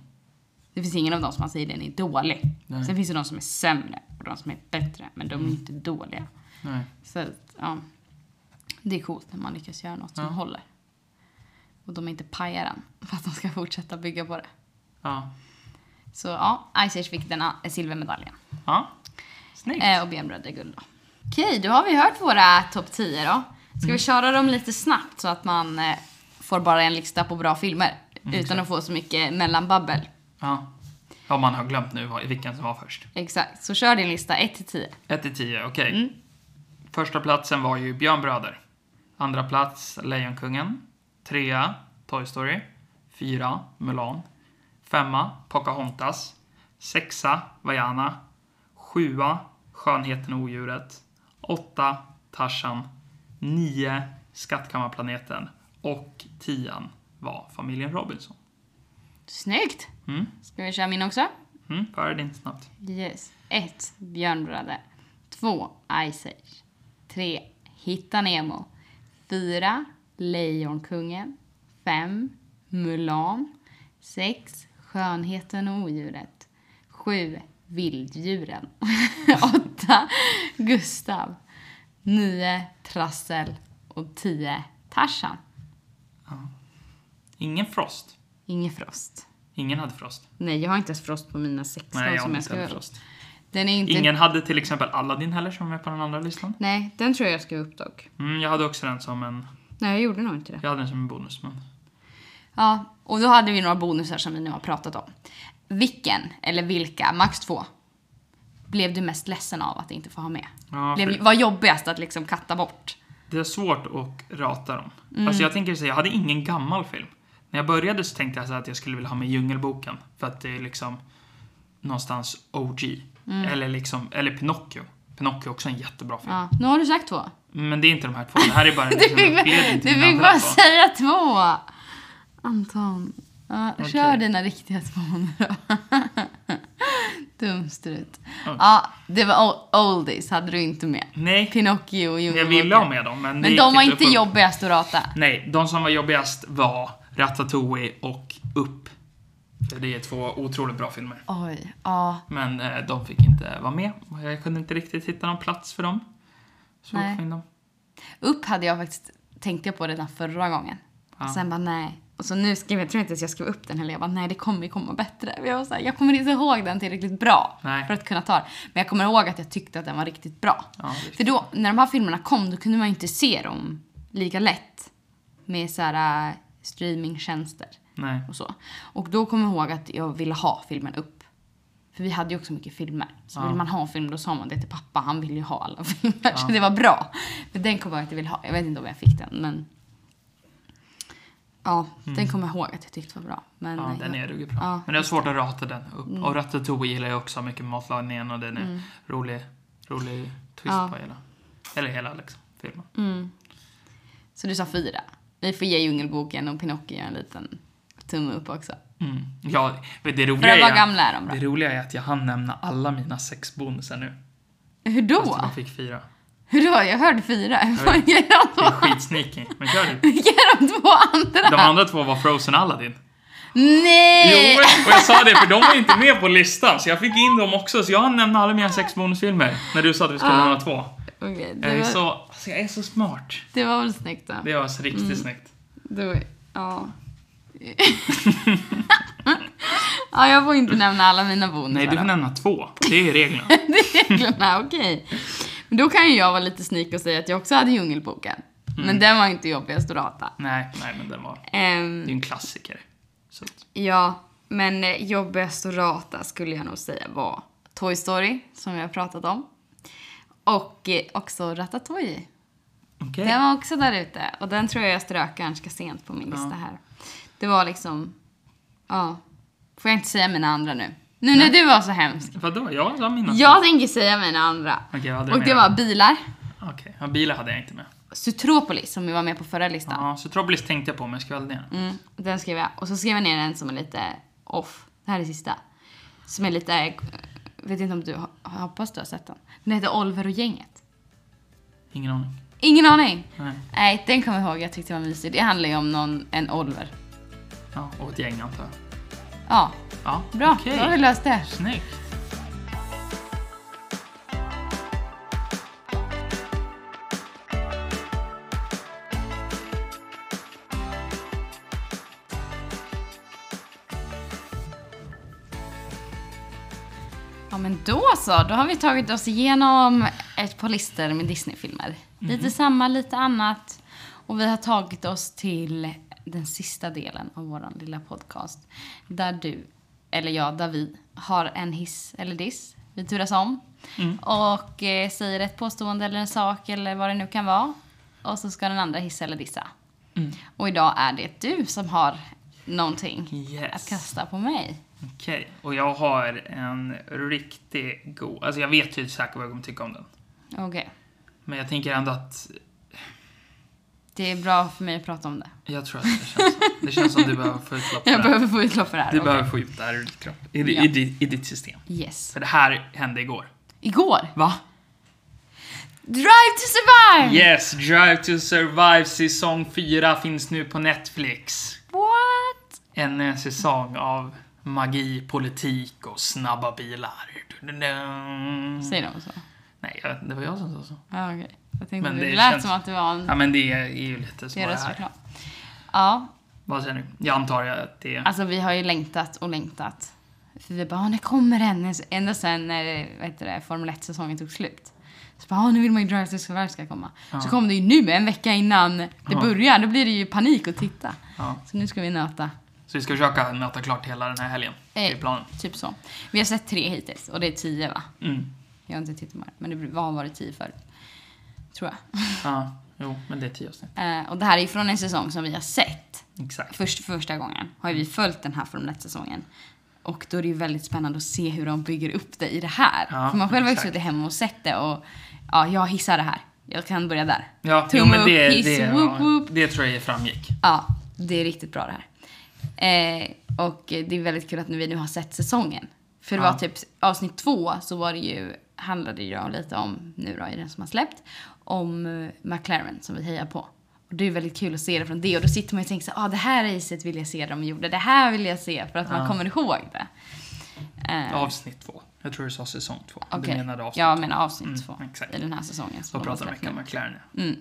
Speaker 1: Det finns ingen av dem som man säger den är dålig.
Speaker 2: Nej. Mm.
Speaker 1: Sen finns det de som är sämre och de som är bättre. Men de är inte dåliga.
Speaker 2: Nej.
Speaker 1: Så att ja, det är coolt när man lyckas göra något som
Speaker 2: Ja.
Speaker 1: håller. Och de inte pajar den för att de ska fortsätta bygga på det.
Speaker 2: Ja.
Speaker 1: Så ja, Ice Age fick den a- silvermedaljen.
Speaker 2: ja. Snyggt.
Speaker 1: Eh, och benbröd är guld då. Okej, då har vi hört våra topp 10 då. Ska vi köra dem lite snabbt så att man eh, får bara en lista på bra filmer? utan att få så mycket mellanbabbel.
Speaker 2: Ja. ja, man har glömt nu vad- vilken som var först.
Speaker 1: Exakt, så kör din lista 1 till 10.
Speaker 2: 1 till 10, okej.
Speaker 1: Mm.
Speaker 2: Första platsen var ju Björnbröder. Andra plats Lejonkungen. Trea Toy Story. Fyra Mulan. Femma Pocahontas. Sexa Vaiana. Sjua Skönheten och odjuret. Åtta Tarzan. Nio Skattkammarplaneten. Och tian var Familjen Robinson.
Speaker 1: Snyggt!
Speaker 2: Mm.
Speaker 1: Ska vi köra min också?
Speaker 2: Mm, före din snabbt.
Speaker 1: Yes. 1. Björnbröder. 2. Ice Age. 3. Hitta Nemo. 4. Lejonkungen. 5. Mulan. 6. Skönheten och odjuret. 7. Vilddjuren. 8. Gustav. 9. Trassel. Och 10. Tarzan.
Speaker 2: Ingen Frost.
Speaker 1: Ingen frost.
Speaker 2: Ingen hade Frost.
Speaker 1: Nej, jag har inte ens frost på mina 16
Speaker 2: Nej,
Speaker 1: som
Speaker 2: jag hade
Speaker 1: jag
Speaker 2: inte
Speaker 1: ska
Speaker 2: heller
Speaker 1: göra.
Speaker 2: Frost.
Speaker 1: Den är inte...
Speaker 2: Ingen hade till exempel Aladdin heller som är på den andra listan.
Speaker 1: Nej, den tror jag jag ska upp dock.
Speaker 2: Mm, jag hade också den som en...
Speaker 1: Nej, jag gjorde nog inte det.
Speaker 2: Jag hade den som en bonus, men...
Speaker 1: Ja, och då hade vi några bonusar som vi nu har pratat om. Vilken, eller vilka, max två, blev du mest ledsen av att inte få ha med?
Speaker 2: Ja, för
Speaker 1: Blev, var jobbigast att liksom katta bort?
Speaker 2: det är svårt att rata dem.
Speaker 1: Mm.
Speaker 2: Alltså jag tänker säga, jag hade ingen gammal film. När jag började så tänkte jag så här att jag skulle vilja ha med Djungelboken. För att det är liksom någonstans OG. Eller liksom, eller Pinocchio. Pinocchio är också en jättebra film.
Speaker 1: Mm. Ja, nu har du sagt två.
Speaker 2: Men det är inte de här två, det här är bara en
Speaker 1: Du
Speaker 2: liksom,
Speaker 1: fick, bara-
Speaker 2: uppledning till
Speaker 1: du
Speaker 2: mina
Speaker 1: fick
Speaker 2: andra
Speaker 1: bara
Speaker 2: två.
Speaker 1: säga två! Anton, ja, kör
Speaker 2: Okej.
Speaker 1: dina riktiga två nu då. Dumstrut.
Speaker 2: Oj.
Speaker 1: Ja, det var o- oldies, hade du inte med.
Speaker 2: Nej,
Speaker 1: Pinocchio och
Speaker 2: jag
Speaker 1: Djungelboken.
Speaker 2: ville ha med dem, men det
Speaker 1: Men
Speaker 2: gick
Speaker 1: de var
Speaker 2: att
Speaker 1: inte
Speaker 2: få upp.
Speaker 1: jobbigast att rata.
Speaker 2: Nej, de som var jobbigast var Ratatouille och Upp. För det är två otroligt bra filmer.
Speaker 1: Oj, ja.
Speaker 2: Men eh, de fick inte vara med. Jag kunde inte riktigt hitta någon plats för dem. Så
Speaker 1: Nej.
Speaker 2: fick in dem.
Speaker 1: Upp hade jag faktiskt tänkt jag på redan förra gången.
Speaker 2: Ja.
Speaker 1: Och sen bara nej. Och så nu skrev jag, tror inte ens jag skrev upp den heller. Jag bara nej det kommer ju komma bättre. Men Jag, var så här, jag kommer inte ihåg den tillräckligt bra
Speaker 2: Nej.
Speaker 1: för att kunna ta den. Men jag kommer ihåg att jag tyckte att den var riktigt bra.
Speaker 2: Ja, visst.
Speaker 1: för då, när de här filmerna kom, då kunde man ju inte se dem lika lätt. Med så här äh, streamingtjänster
Speaker 2: Nej.
Speaker 1: och så. Och då kommer jag ihåg att jag ville ha filmen upp. För vi hade ju också mycket filmer. Så
Speaker 2: Ja.
Speaker 1: vill man ha en film då sa man det till pappa. Han ville ju ha alla filmer. Så det var bra. Men den kommer jag ihåg att jag ville ha. Jag vet inte om jag fick den men. Ja, den kommer jag ihåg att jag tyckte var bra. Men
Speaker 2: Mm. Ja,
Speaker 1: eh,
Speaker 2: den
Speaker 1: jag-
Speaker 2: är ruggigt bra.
Speaker 1: Ja, Mm.
Speaker 2: Men det är svårt att rata den upp. Och Ratatouille gillar jag också mycket matlagningen och den är rolig, rolig twist
Speaker 1: Ja.
Speaker 2: på hela. Eller hela liksom, filmen.
Speaker 1: Mm. Så du sa fyra. Vi får ge Djungelboken och Pinocchio en liten tumme upp också.
Speaker 2: Mm. Ja, men det
Speaker 1: För
Speaker 2: roliga,
Speaker 1: att vara
Speaker 2: är,
Speaker 1: gamla är de bra.
Speaker 2: det roliga är att jag hann nämna alla mina sex bonusar nu.
Speaker 1: Hur
Speaker 2: Fast
Speaker 1: då?
Speaker 2: jag fick fyra.
Speaker 1: Hur då? Jag hörde fyra. Vad
Speaker 2: vet.
Speaker 1: är de
Speaker 2: Det är
Speaker 1: två-
Speaker 2: skitsneaky. Men kör du.
Speaker 1: Vilka är de två andra?
Speaker 2: De andra två var Frozen och Aladdin.
Speaker 1: Eh. Nej!
Speaker 2: Jo, och jag sa det för de var inte med på listan så jag fick in dem också så jag nämnde alla mina sex bonusfilmer när du sa att vi skulle nämna två.
Speaker 1: Okej, Ah.
Speaker 2: Jag
Speaker 1: det,
Speaker 2: är
Speaker 1: var,
Speaker 2: så, alltså jag är så smart.
Speaker 1: det var väl snyggt då.
Speaker 2: Det var så riktigt
Speaker 1: Mm.
Speaker 2: snyggt.
Speaker 1: Då, ja. ja, jag får inte nämna alla mina bonusar.
Speaker 2: Nej, du får
Speaker 1: då.
Speaker 2: nämna två. Det är reglerna.
Speaker 1: reglerna, okej. Men då kan ju jag vara lite sneak och säga att jag också hade Djungelboken.
Speaker 2: Mm.
Speaker 1: Men den var inte jobbigast att rata.
Speaker 2: nej, nej men den var... Det
Speaker 1: Ehm,
Speaker 2: är ju en klassiker. Så, att-
Speaker 1: ja, men eh, jobbigast att rata skulle jag nog säga var Toy Story, som vi har pratat om. Och eh, också Ratatouille.
Speaker 2: okej.
Speaker 1: Den var också där ute. Och den tror jag jag strök ganska sent på min lista här. Det var liksom... Ja. Får jag inte säga mina andra nu? Nu när du var så hemsk.
Speaker 2: Vadå? Jag sa mina.
Speaker 1: Jag tänker säga mina andra.
Speaker 2: Okej, vad hade du
Speaker 1: Och
Speaker 2: med
Speaker 1: det
Speaker 2: då?
Speaker 1: var bilar.
Speaker 2: Okej, ja, bilar hade jag inte med.
Speaker 1: Sutropolis som ju var med på förra listan.
Speaker 2: Ja, så Trobblis tänkte jag på men jag skvallde ner den.
Speaker 1: Mm, den skrev jag. Och så skrev jag ner en som är lite off. Det här är sista. Som är lite... eh, Vet inte om du... har- Hoppas du har sett den. Den heter Oliver och gänget.
Speaker 2: Ingen aning.
Speaker 1: Ingen aning.
Speaker 2: Nej.
Speaker 1: Nej, den kommer jag ihåg. Jag tyckte den var mysig. Det handlar ju om någon, en Oliver.
Speaker 2: Ja, och ett gäng antar jag.
Speaker 1: Ja,
Speaker 2: Ja,
Speaker 1: bra.
Speaker 2: okej.
Speaker 1: Då har vi löst det.
Speaker 2: Snyggt.
Speaker 1: Ja men då så, då har vi tagit oss igenom ett par listor med Disney-filmer. Lite samma, lite annat. Och vi har tagit oss till den sista delen av vår lilla podcast. Där du, eller jag, där vi har en hiss eller diss. Vi turas om. Och eh, säger ett påstående eller en sak eller vad det nu kan vara. Och så ska den andra hissa eller dissa. Och idag är det du som har någonting att
Speaker 2: Yes.
Speaker 1: kasta på mig.
Speaker 2: Okej, och jag har en riktigt god... Alltså jag vet ju säkert vad jag kommer tycka om den.
Speaker 1: Okej.
Speaker 2: Men jag tänker ändå att...
Speaker 1: Det är bra för mig att prata om det.
Speaker 2: Jag tror att det känns, det känns som du behöver få utlopp för
Speaker 1: Jag
Speaker 2: det. här.
Speaker 1: behöver få utlopp för det här.
Speaker 2: Du
Speaker 1: okej.
Speaker 2: behöver få ut det här ur ditt kropp. I, di-
Speaker 1: Ja.
Speaker 2: i, ditt- I ditt system.
Speaker 1: Yes.
Speaker 2: För det här hände igår.
Speaker 1: Igår.
Speaker 2: Va?
Speaker 1: Drive to survive!
Speaker 2: Yes! Drive to survive säsong 4 finns nu på Netflix.
Speaker 1: What?
Speaker 2: En eh, säsong av magi, politik och snabba bilar. Du-du-dum.
Speaker 1: Säger de så?
Speaker 2: Nej, jag- det var jag som sa så.
Speaker 1: Ja, okej. Jag tänkte
Speaker 2: Men
Speaker 1: det,
Speaker 2: det
Speaker 1: lät
Speaker 2: känns-
Speaker 1: som att det var en
Speaker 2: Ja men det är ju lite så
Speaker 1: deras
Speaker 2: här.
Speaker 1: reklam. Ja,
Speaker 2: Vad säger du? Jag antar att det är...
Speaker 1: alltså vi har ju längtat och längtat. För vi bara, "Ah, när kommer den? Ända sen när vad heter det, Formel 1-säsongen tog slut. Så bara, "Ah, nu vill man ju Drive to survive ska komma. Så kom det ju nu, en vecka innan det börjar. Då blir det ju panik att titta.
Speaker 2: Ja.
Speaker 1: Så nu ska vi nöta.
Speaker 2: Så vi ska försöka nöta klart hela den här helgen. Det är
Speaker 1: Eh,
Speaker 2: planen.
Speaker 1: Typ så. Vi har sett tre hittills och det är tio va?
Speaker 2: Mm.
Speaker 1: Jag har inte tittat mer, men det har varit tio förut. Tror jag.
Speaker 2: Ja, jo, men det är tio avsnitt.
Speaker 1: Eh, och det här är ju från en säsong som vi har sett.
Speaker 2: Exakt.
Speaker 1: Först, första gången har ju vi följt den här Formel 1-säsongen. Och då är det ju väldigt spännande att se hur de bygger upp det i det här.
Speaker 2: Ja,
Speaker 1: För man själv har ju
Speaker 2: exakt.
Speaker 1: suttit hemma och sett det och ja, jag hissar det här. Jag kan börja där.
Speaker 2: Ja, jo,
Speaker 1: Tumme
Speaker 2: men det,
Speaker 1: upp, hiss,
Speaker 2: det,
Speaker 1: whoop,
Speaker 2: ja,
Speaker 1: whoop.
Speaker 2: det tror jag framgick.
Speaker 1: Ja, det är riktigt bra det här. Eh, och det är väldigt kul att vi nu har sett säsongen. För det var
Speaker 2: Ja.
Speaker 1: typ avsnitt två så var det ju, handlade det ju om lite om, nu då i den som har släppt, om eh, McLaren som vi hejar på. Och det är väldigt kul att se det från det och då sitter man ju och tänker så här, ah, det här racet vill jag se de gjorde, det här vill jag se för att man
Speaker 2: Ja.
Speaker 1: kommer ihåg det. Eh,
Speaker 2: Avsnitt två. Jag tror du sa säsong två.
Speaker 1: okej.
Speaker 2: Du menade avsnitt
Speaker 1: Jag menar avsnitt
Speaker 2: Mm,
Speaker 1: två
Speaker 2: exakt.
Speaker 1: i den här säsongen. som
Speaker 2: två.
Speaker 1: de
Speaker 2: Och
Speaker 1: har
Speaker 2: pratade
Speaker 1: släppt
Speaker 2: mycket om
Speaker 1: nu.
Speaker 2: McLaren. ja.
Speaker 1: Mm.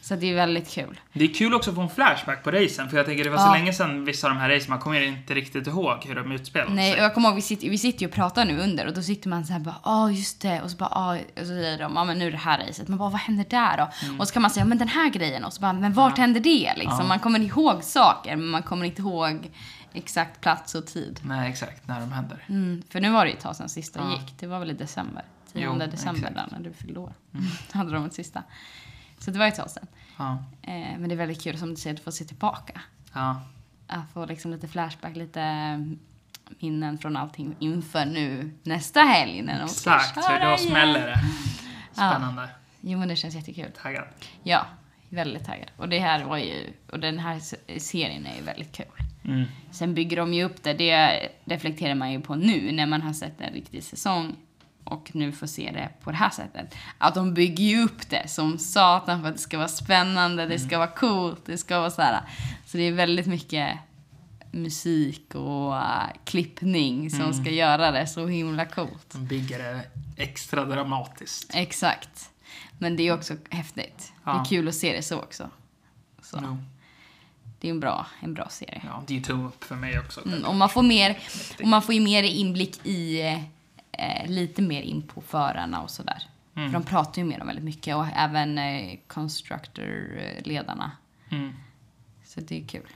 Speaker 1: Så det är väldigt kul.
Speaker 2: Det är kul också att få en flashback på racen, för jag tänker det var så
Speaker 1: Ja.
Speaker 2: länge sedan vissa av de här racen, man kommer ju inte riktigt ihåg hur de utspelade
Speaker 1: Nej, och
Speaker 2: sig.
Speaker 1: jag kommer ihåg, vi sitter, vi sitter ju och pratar nu under och då sitter man så här bara, ja just det, och så bara, ja, och så säger de, ja men nu är det här racet, man bara, vad händer där då?
Speaker 2: Mm.
Speaker 1: Och så kan man säga, ja men den här grejen, och så bara, men vart händer det liksom? Man kommer ihåg saker, men man kommer inte ihåg exakt plats och tid.
Speaker 2: Nej, exakt. När de händer.
Speaker 1: Mm, för nu var det ju ett tag sedan sista
Speaker 2: Ja.
Speaker 1: gick, det var väl i december, 10
Speaker 2: Jo,
Speaker 1: december
Speaker 2: exakt. Mm.
Speaker 1: där, när du fyllde år, hade de ett sista. Så det var ju ett tag sedan.
Speaker 2: Ja.
Speaker 1: Eh, men det är väldigt kul som du säger, att få se tillbaka.
Speaker 2: ja.
Speaker 1: Att få liksom lite flashback, lite mm, minnen från allting inför nu nästa helg när de ska
Speaker 2: Exakt, för
Speaker 1: köra
Speaker 2: då
Speaker 1: igen.
Speaker 2: smäller det.
Speaker 1: Ja.
Speaker 2: Spännande.
Speaker 1: Jo men det känns jättekul.
Speaker 2: Taggad.
Speaker 1: Ja, väldigt taggad. Och det här var ju, och den här se- serien är ju väldigt kul.
Speaker 2: Mm.
Speaker 1: Sen bygger de ju upp det, det reflekterar man ju på nu när man har sett en riktig säsong och nu får se det på det här sättet. Att de bygger ju upp det som satan för att det ska vara spännande, det ska vara coolt, det ska vara så här. Så det är väldigt mycket musik och äh, klippning som ska göra det så himla coolt.
Speaker 2: De bygger det extra dramatiskt.
Speaker 1: Exakt. Men det är också häftigt. Det
Speaker 2: Ja.
Speaker 1: är kul att se det så också. Så.
Speaker 2: Jo.
Speaker 1: Det är en bra, en bra serie.
Speaker 2: Ja, det är ju tumme upp för mig också.
Speaker 1: Mm, och man får mer, och man får ju mer inblick i, eh, lite mer in på förarna och sådär.
Speaker 2: Mm.
Speaker 1: För de pratar ju med dem väldigt mycket och även eh, constructor-ledarna.
Speaker 2: Mm.
Speaker 1: Så det är kul.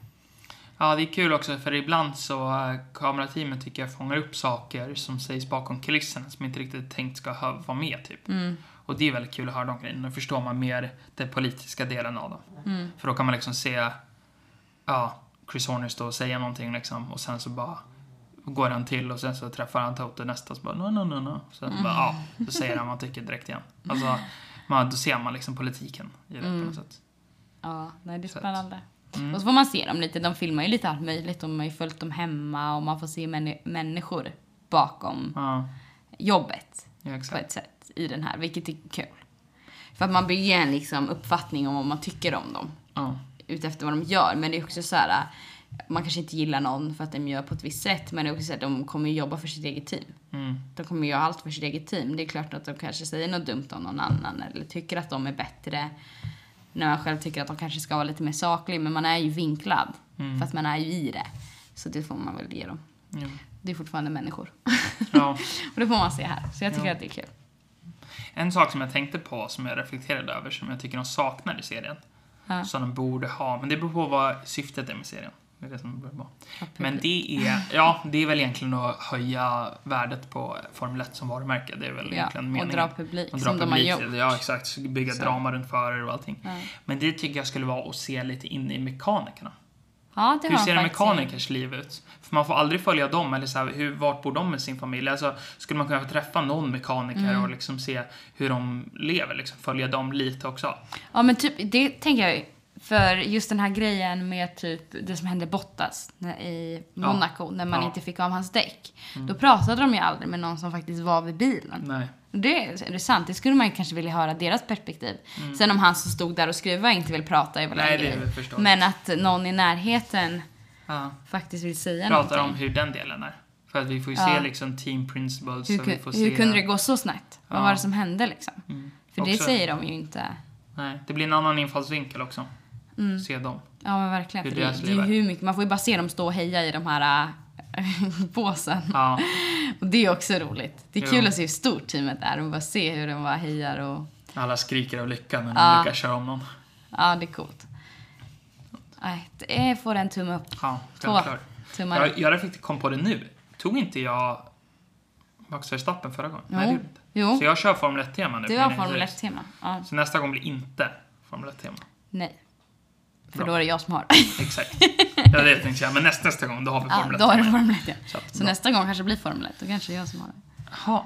Speaker 2: Ja, det är kul också för ibland så eh, kamerateamet tycker jag fångar upp saker som sägs bakom kulisserna som inte riktigt tänkt ska hö- vara med typ. Och det är väldigt kul att höra de grejerna. Då förstår man mer den politiska delen av dem. För då kan man liksom se, ja, Chris Horner stå och säga någonting liksom och sen så bara går han till och sen så träffar han Toto nästa så bara no, no, no, no. Sen så bara, ja, då säger han vad han tycker direkt igen. Alltså, man, då ser man liksom politiken i det på något sätt.
Speaker 1: Ja, nej, det är
Speaker 2: Så att- Mm.
Speaker 1: spännande. Och så får man se dem lite. De filmar ju lite allt möjligt. De har ju följt dem hemma och man får se män- människor bakom
Speaker 2: Ja,
Speaker 1: jobbet.
Speaker 2: ja
Speaker 1: på
Speaker 2: exakt.
Speaker 1: ett sätt i den här, vilket är kul. För att man bygger en liksom uppfattning om vad man tycker om dem
Speaker 2: Ja.
Speaker 1: utefter vad de gör. Men det är också så här, äh, man kanske inte gillar någon för att de gör på ett visst sätt, men det är också så att de kommer ju jobba för sitt eget team.
Speaker 2: Mm.
Speaker 1: De kommer göra allt för sitt eget team. Det är klart att de kanske säger något dumt om någon annan eller tycker att de är bättre. När man själv tycker att de kanske ska vara lite mer
Speaker 2: Mm.
Speaker 1: saklig, men man är ju vinklad. För att man är ju i det. Så det får man väl ge dem.
Speaker 2: Jo.
Speaker 1: det är fortfarande människor.
Speaker 2: Ja.
Speaker 1: och det får man se här. Så jag tycker att det är kul.
Speaker 2: En sak som jag tänkte på, som jag reflekterade över, som jag tycker de saknar i serien.
Speaker 1: Ja.
Speaker 2: Som de borde ha, men det beror på vad syftet är med serien. Det är det som borde vara. Men det är, ja, det är väl egentligen att höja värdet på Formel 1 som varumärke. Det är väl
Speaker 1: Ja,
Speaker 2: egentligen
Speaker 1: och
Speaker 2: meningen.
Speaker 1: dra publik
Speaker 2: Och dra
Speaker 1: som de har
Speaker 2: publik
Speaker 1: gjort.
Speaker 2: till det. Ja, exakt. Bygga
Speaker 1: Så.
Speaker 2: drama runt förare och allting.
Speaker 1: Ja.
Speaker 2: Men det tycker jag skulle vara att se lite in i mekanikerna.
Speaker 1: Ja, det
Speaker 2: Hur
Speaker 1: har
Speaker 2: ser en
Speaker 1: de faktiskt.
Speaker 2: mekanikers liv ut? För man får aldrig följa dem, eller så här, hur, vart bor de med sin familj? Alltså, skulle man kunna få träffa någon mekaniker
Speaker 1: Mm.
Speaker 2: och liksom se hur de lever? Liksom, följa dem lite också?
Speaker 1: Ja, men typ, det tänker jag ju. För just den här grejen med typ det som hände Bottas när- i Monaco när man
Speaker 2: Ja. Mm.
Speaker 1: inte fick av hans däck. Då pratade de ju aldrig med någon som faktiskt var vid bilen.
Speaker 2: Nej.
Speaker 1: Det är intressant. Det skulle man ju kanske vilja höra deras perspektiv. Sen om han som stod där och skruvade inte vill prata är väl
Speaker 2: Mm. Nej,
Speaker 1: en
Speaker 2: det är
Speaker 1: grej.
Speaker 2: väl förståeligt.
Speaker 1: Men att någon i närheten
Speaker 2: Ja.
Speaker 1: faktiskt vill säga
Speaker 2: Pratar om
Speaker 1: någonting.
Speaker 2: hur den delen är. För att vi får ju
Speaker 1: Ja.
Speaker 2: se liksom team principles.
Speaker 1: hur,
Speaker 2: och vi
Speaker 1: kun-
Speaker 2: får
Speaker 1: hur
Speaker 2: se...
Speaker 1: kunde det gå så snett? Vad
Speaker 2: Ja.
Speaker 1: var det som hände liksom?
Speaker 2: Mm.
Speaker 1: För det
Speaker 2: Också-
Speaker 1: säger de ju inte.
Speaker 2: Nej, det blir en annan infallsvinkel också.
Speaker 1: Mm.
Speaker 2: Se dem.
Speaker 1: Ja men verkligen.
Speaker 2: Hur
Speaker 1: För det,
Speaker 2: deras
Speaker 1: det är ju
Speaker 2: liv är.
Speaker 1: hur mycket, man får ju bara se dem stå och heja i de här äh, båsen.
Speaker 2: Ja.
Speaker 1: Och det är också roligt. Det är
Speaker 2: Jo.
Speaker 1: kul att se hur stort teamet är och bara se hur de bara hejar och
Speaker 2: Alla skriker av lycka när de
Speaker 1: Ja.
Speaker 2: lyckas köra om någon.
Speaker 1: ja det är coolt. Nej, det- jag får en tumme upp.
Speaker 2: Ja,
Speaker 1: Två
Speaker 2: självklart.
Speaker 1: tummar upp.
Speaker 2: Jag, jag reflekter- kom på det nu. Tog inte jag Max Verstappen förra gången? Nej, det gjorde jag inte.
Speaker 1: Jo,
Speaker 2: Så jag kör Formel 1-tema nu.
Speaker 1: du
Speaker 2: på
Speaker 1: har
Speaker 2: min
Speaker 1: Formel
Speaker 2: race.
Speaker 1: 1-tema. Ja,
Speaker 2: Så nästa gång blir inte Formel 1-tema.
Speaker 1: nej. För
Speaker 2: Bra.
Speaker 1: då är det jag som har.
Speaker 2: Exakt. ja, det tänkte jag. Men nästa, nästa gång, då har vi
Speaker 1: Ja,
Speaker 2: Formel
Speaker 1: då har
Speaker 2: 1-tema.
Speaker 1: du Formel 1 ja.
Speaker 2: Så att-
Speaker 1: Så nästa gång kanske det blir Formel 1. Då kanske det är jag som har det.
Speaker 2: Jaha.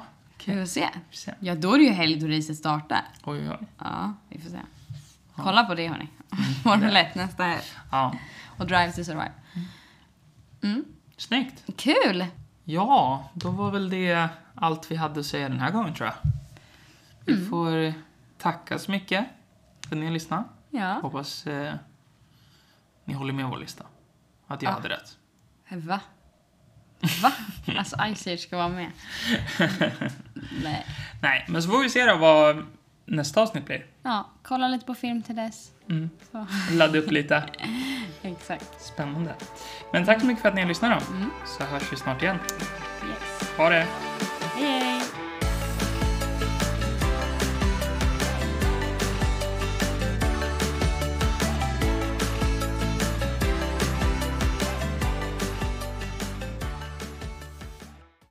Speaker 1: Vi får se.
Speaker 2: vi får se.
Speaker 1: Ja, då är det ju helg då racet startar.
Speaker 2: Oj, oj, oj.
Speaker 1: Ja, vi får se. Kolla på det hörni. Formel 1 nästa helg.
Speaker 2: Ja.
Speaker 1: Och Drive to Survive. Mm.
Speaker 2: Snyggt.
Speaker 1: Kul!
Speaker 2: Ja, då var väl det allt vi hade att säga den här gången tror jag. Vi
Speaker 1: Mm.
Speaker 2: får tacka så mycket för att ni har lyssnat.
Speaker 1: Ja.
Speaker 2: Hoppas eh, ni håller med vår lista. Att jag
Speaker 1: Ja.
Speaker 2: hade rätt.
Speaker 1: Va? Va? Alltså Ice Age ska vara med. Nej.
Speaker 2: Nej, men så får vi se då vad nästa avsnitt blir.
Speaker 1: Ja, kolla lite på film till dess.
Speaker 2: Mm.
Speaker 1: Så.
Speaker 2: Ladda upp lite.
Speaker 1: Exakt.
Speaker 2: Spännande. Men tack så mycket för att ni har lyssnat då.
Speaker 1: Mm.
Speaker 2: Så hörs vi snart igen.
Speaker 1: Yes.
Speaker 2: Ha det!
Speaker 1: Hej, hej!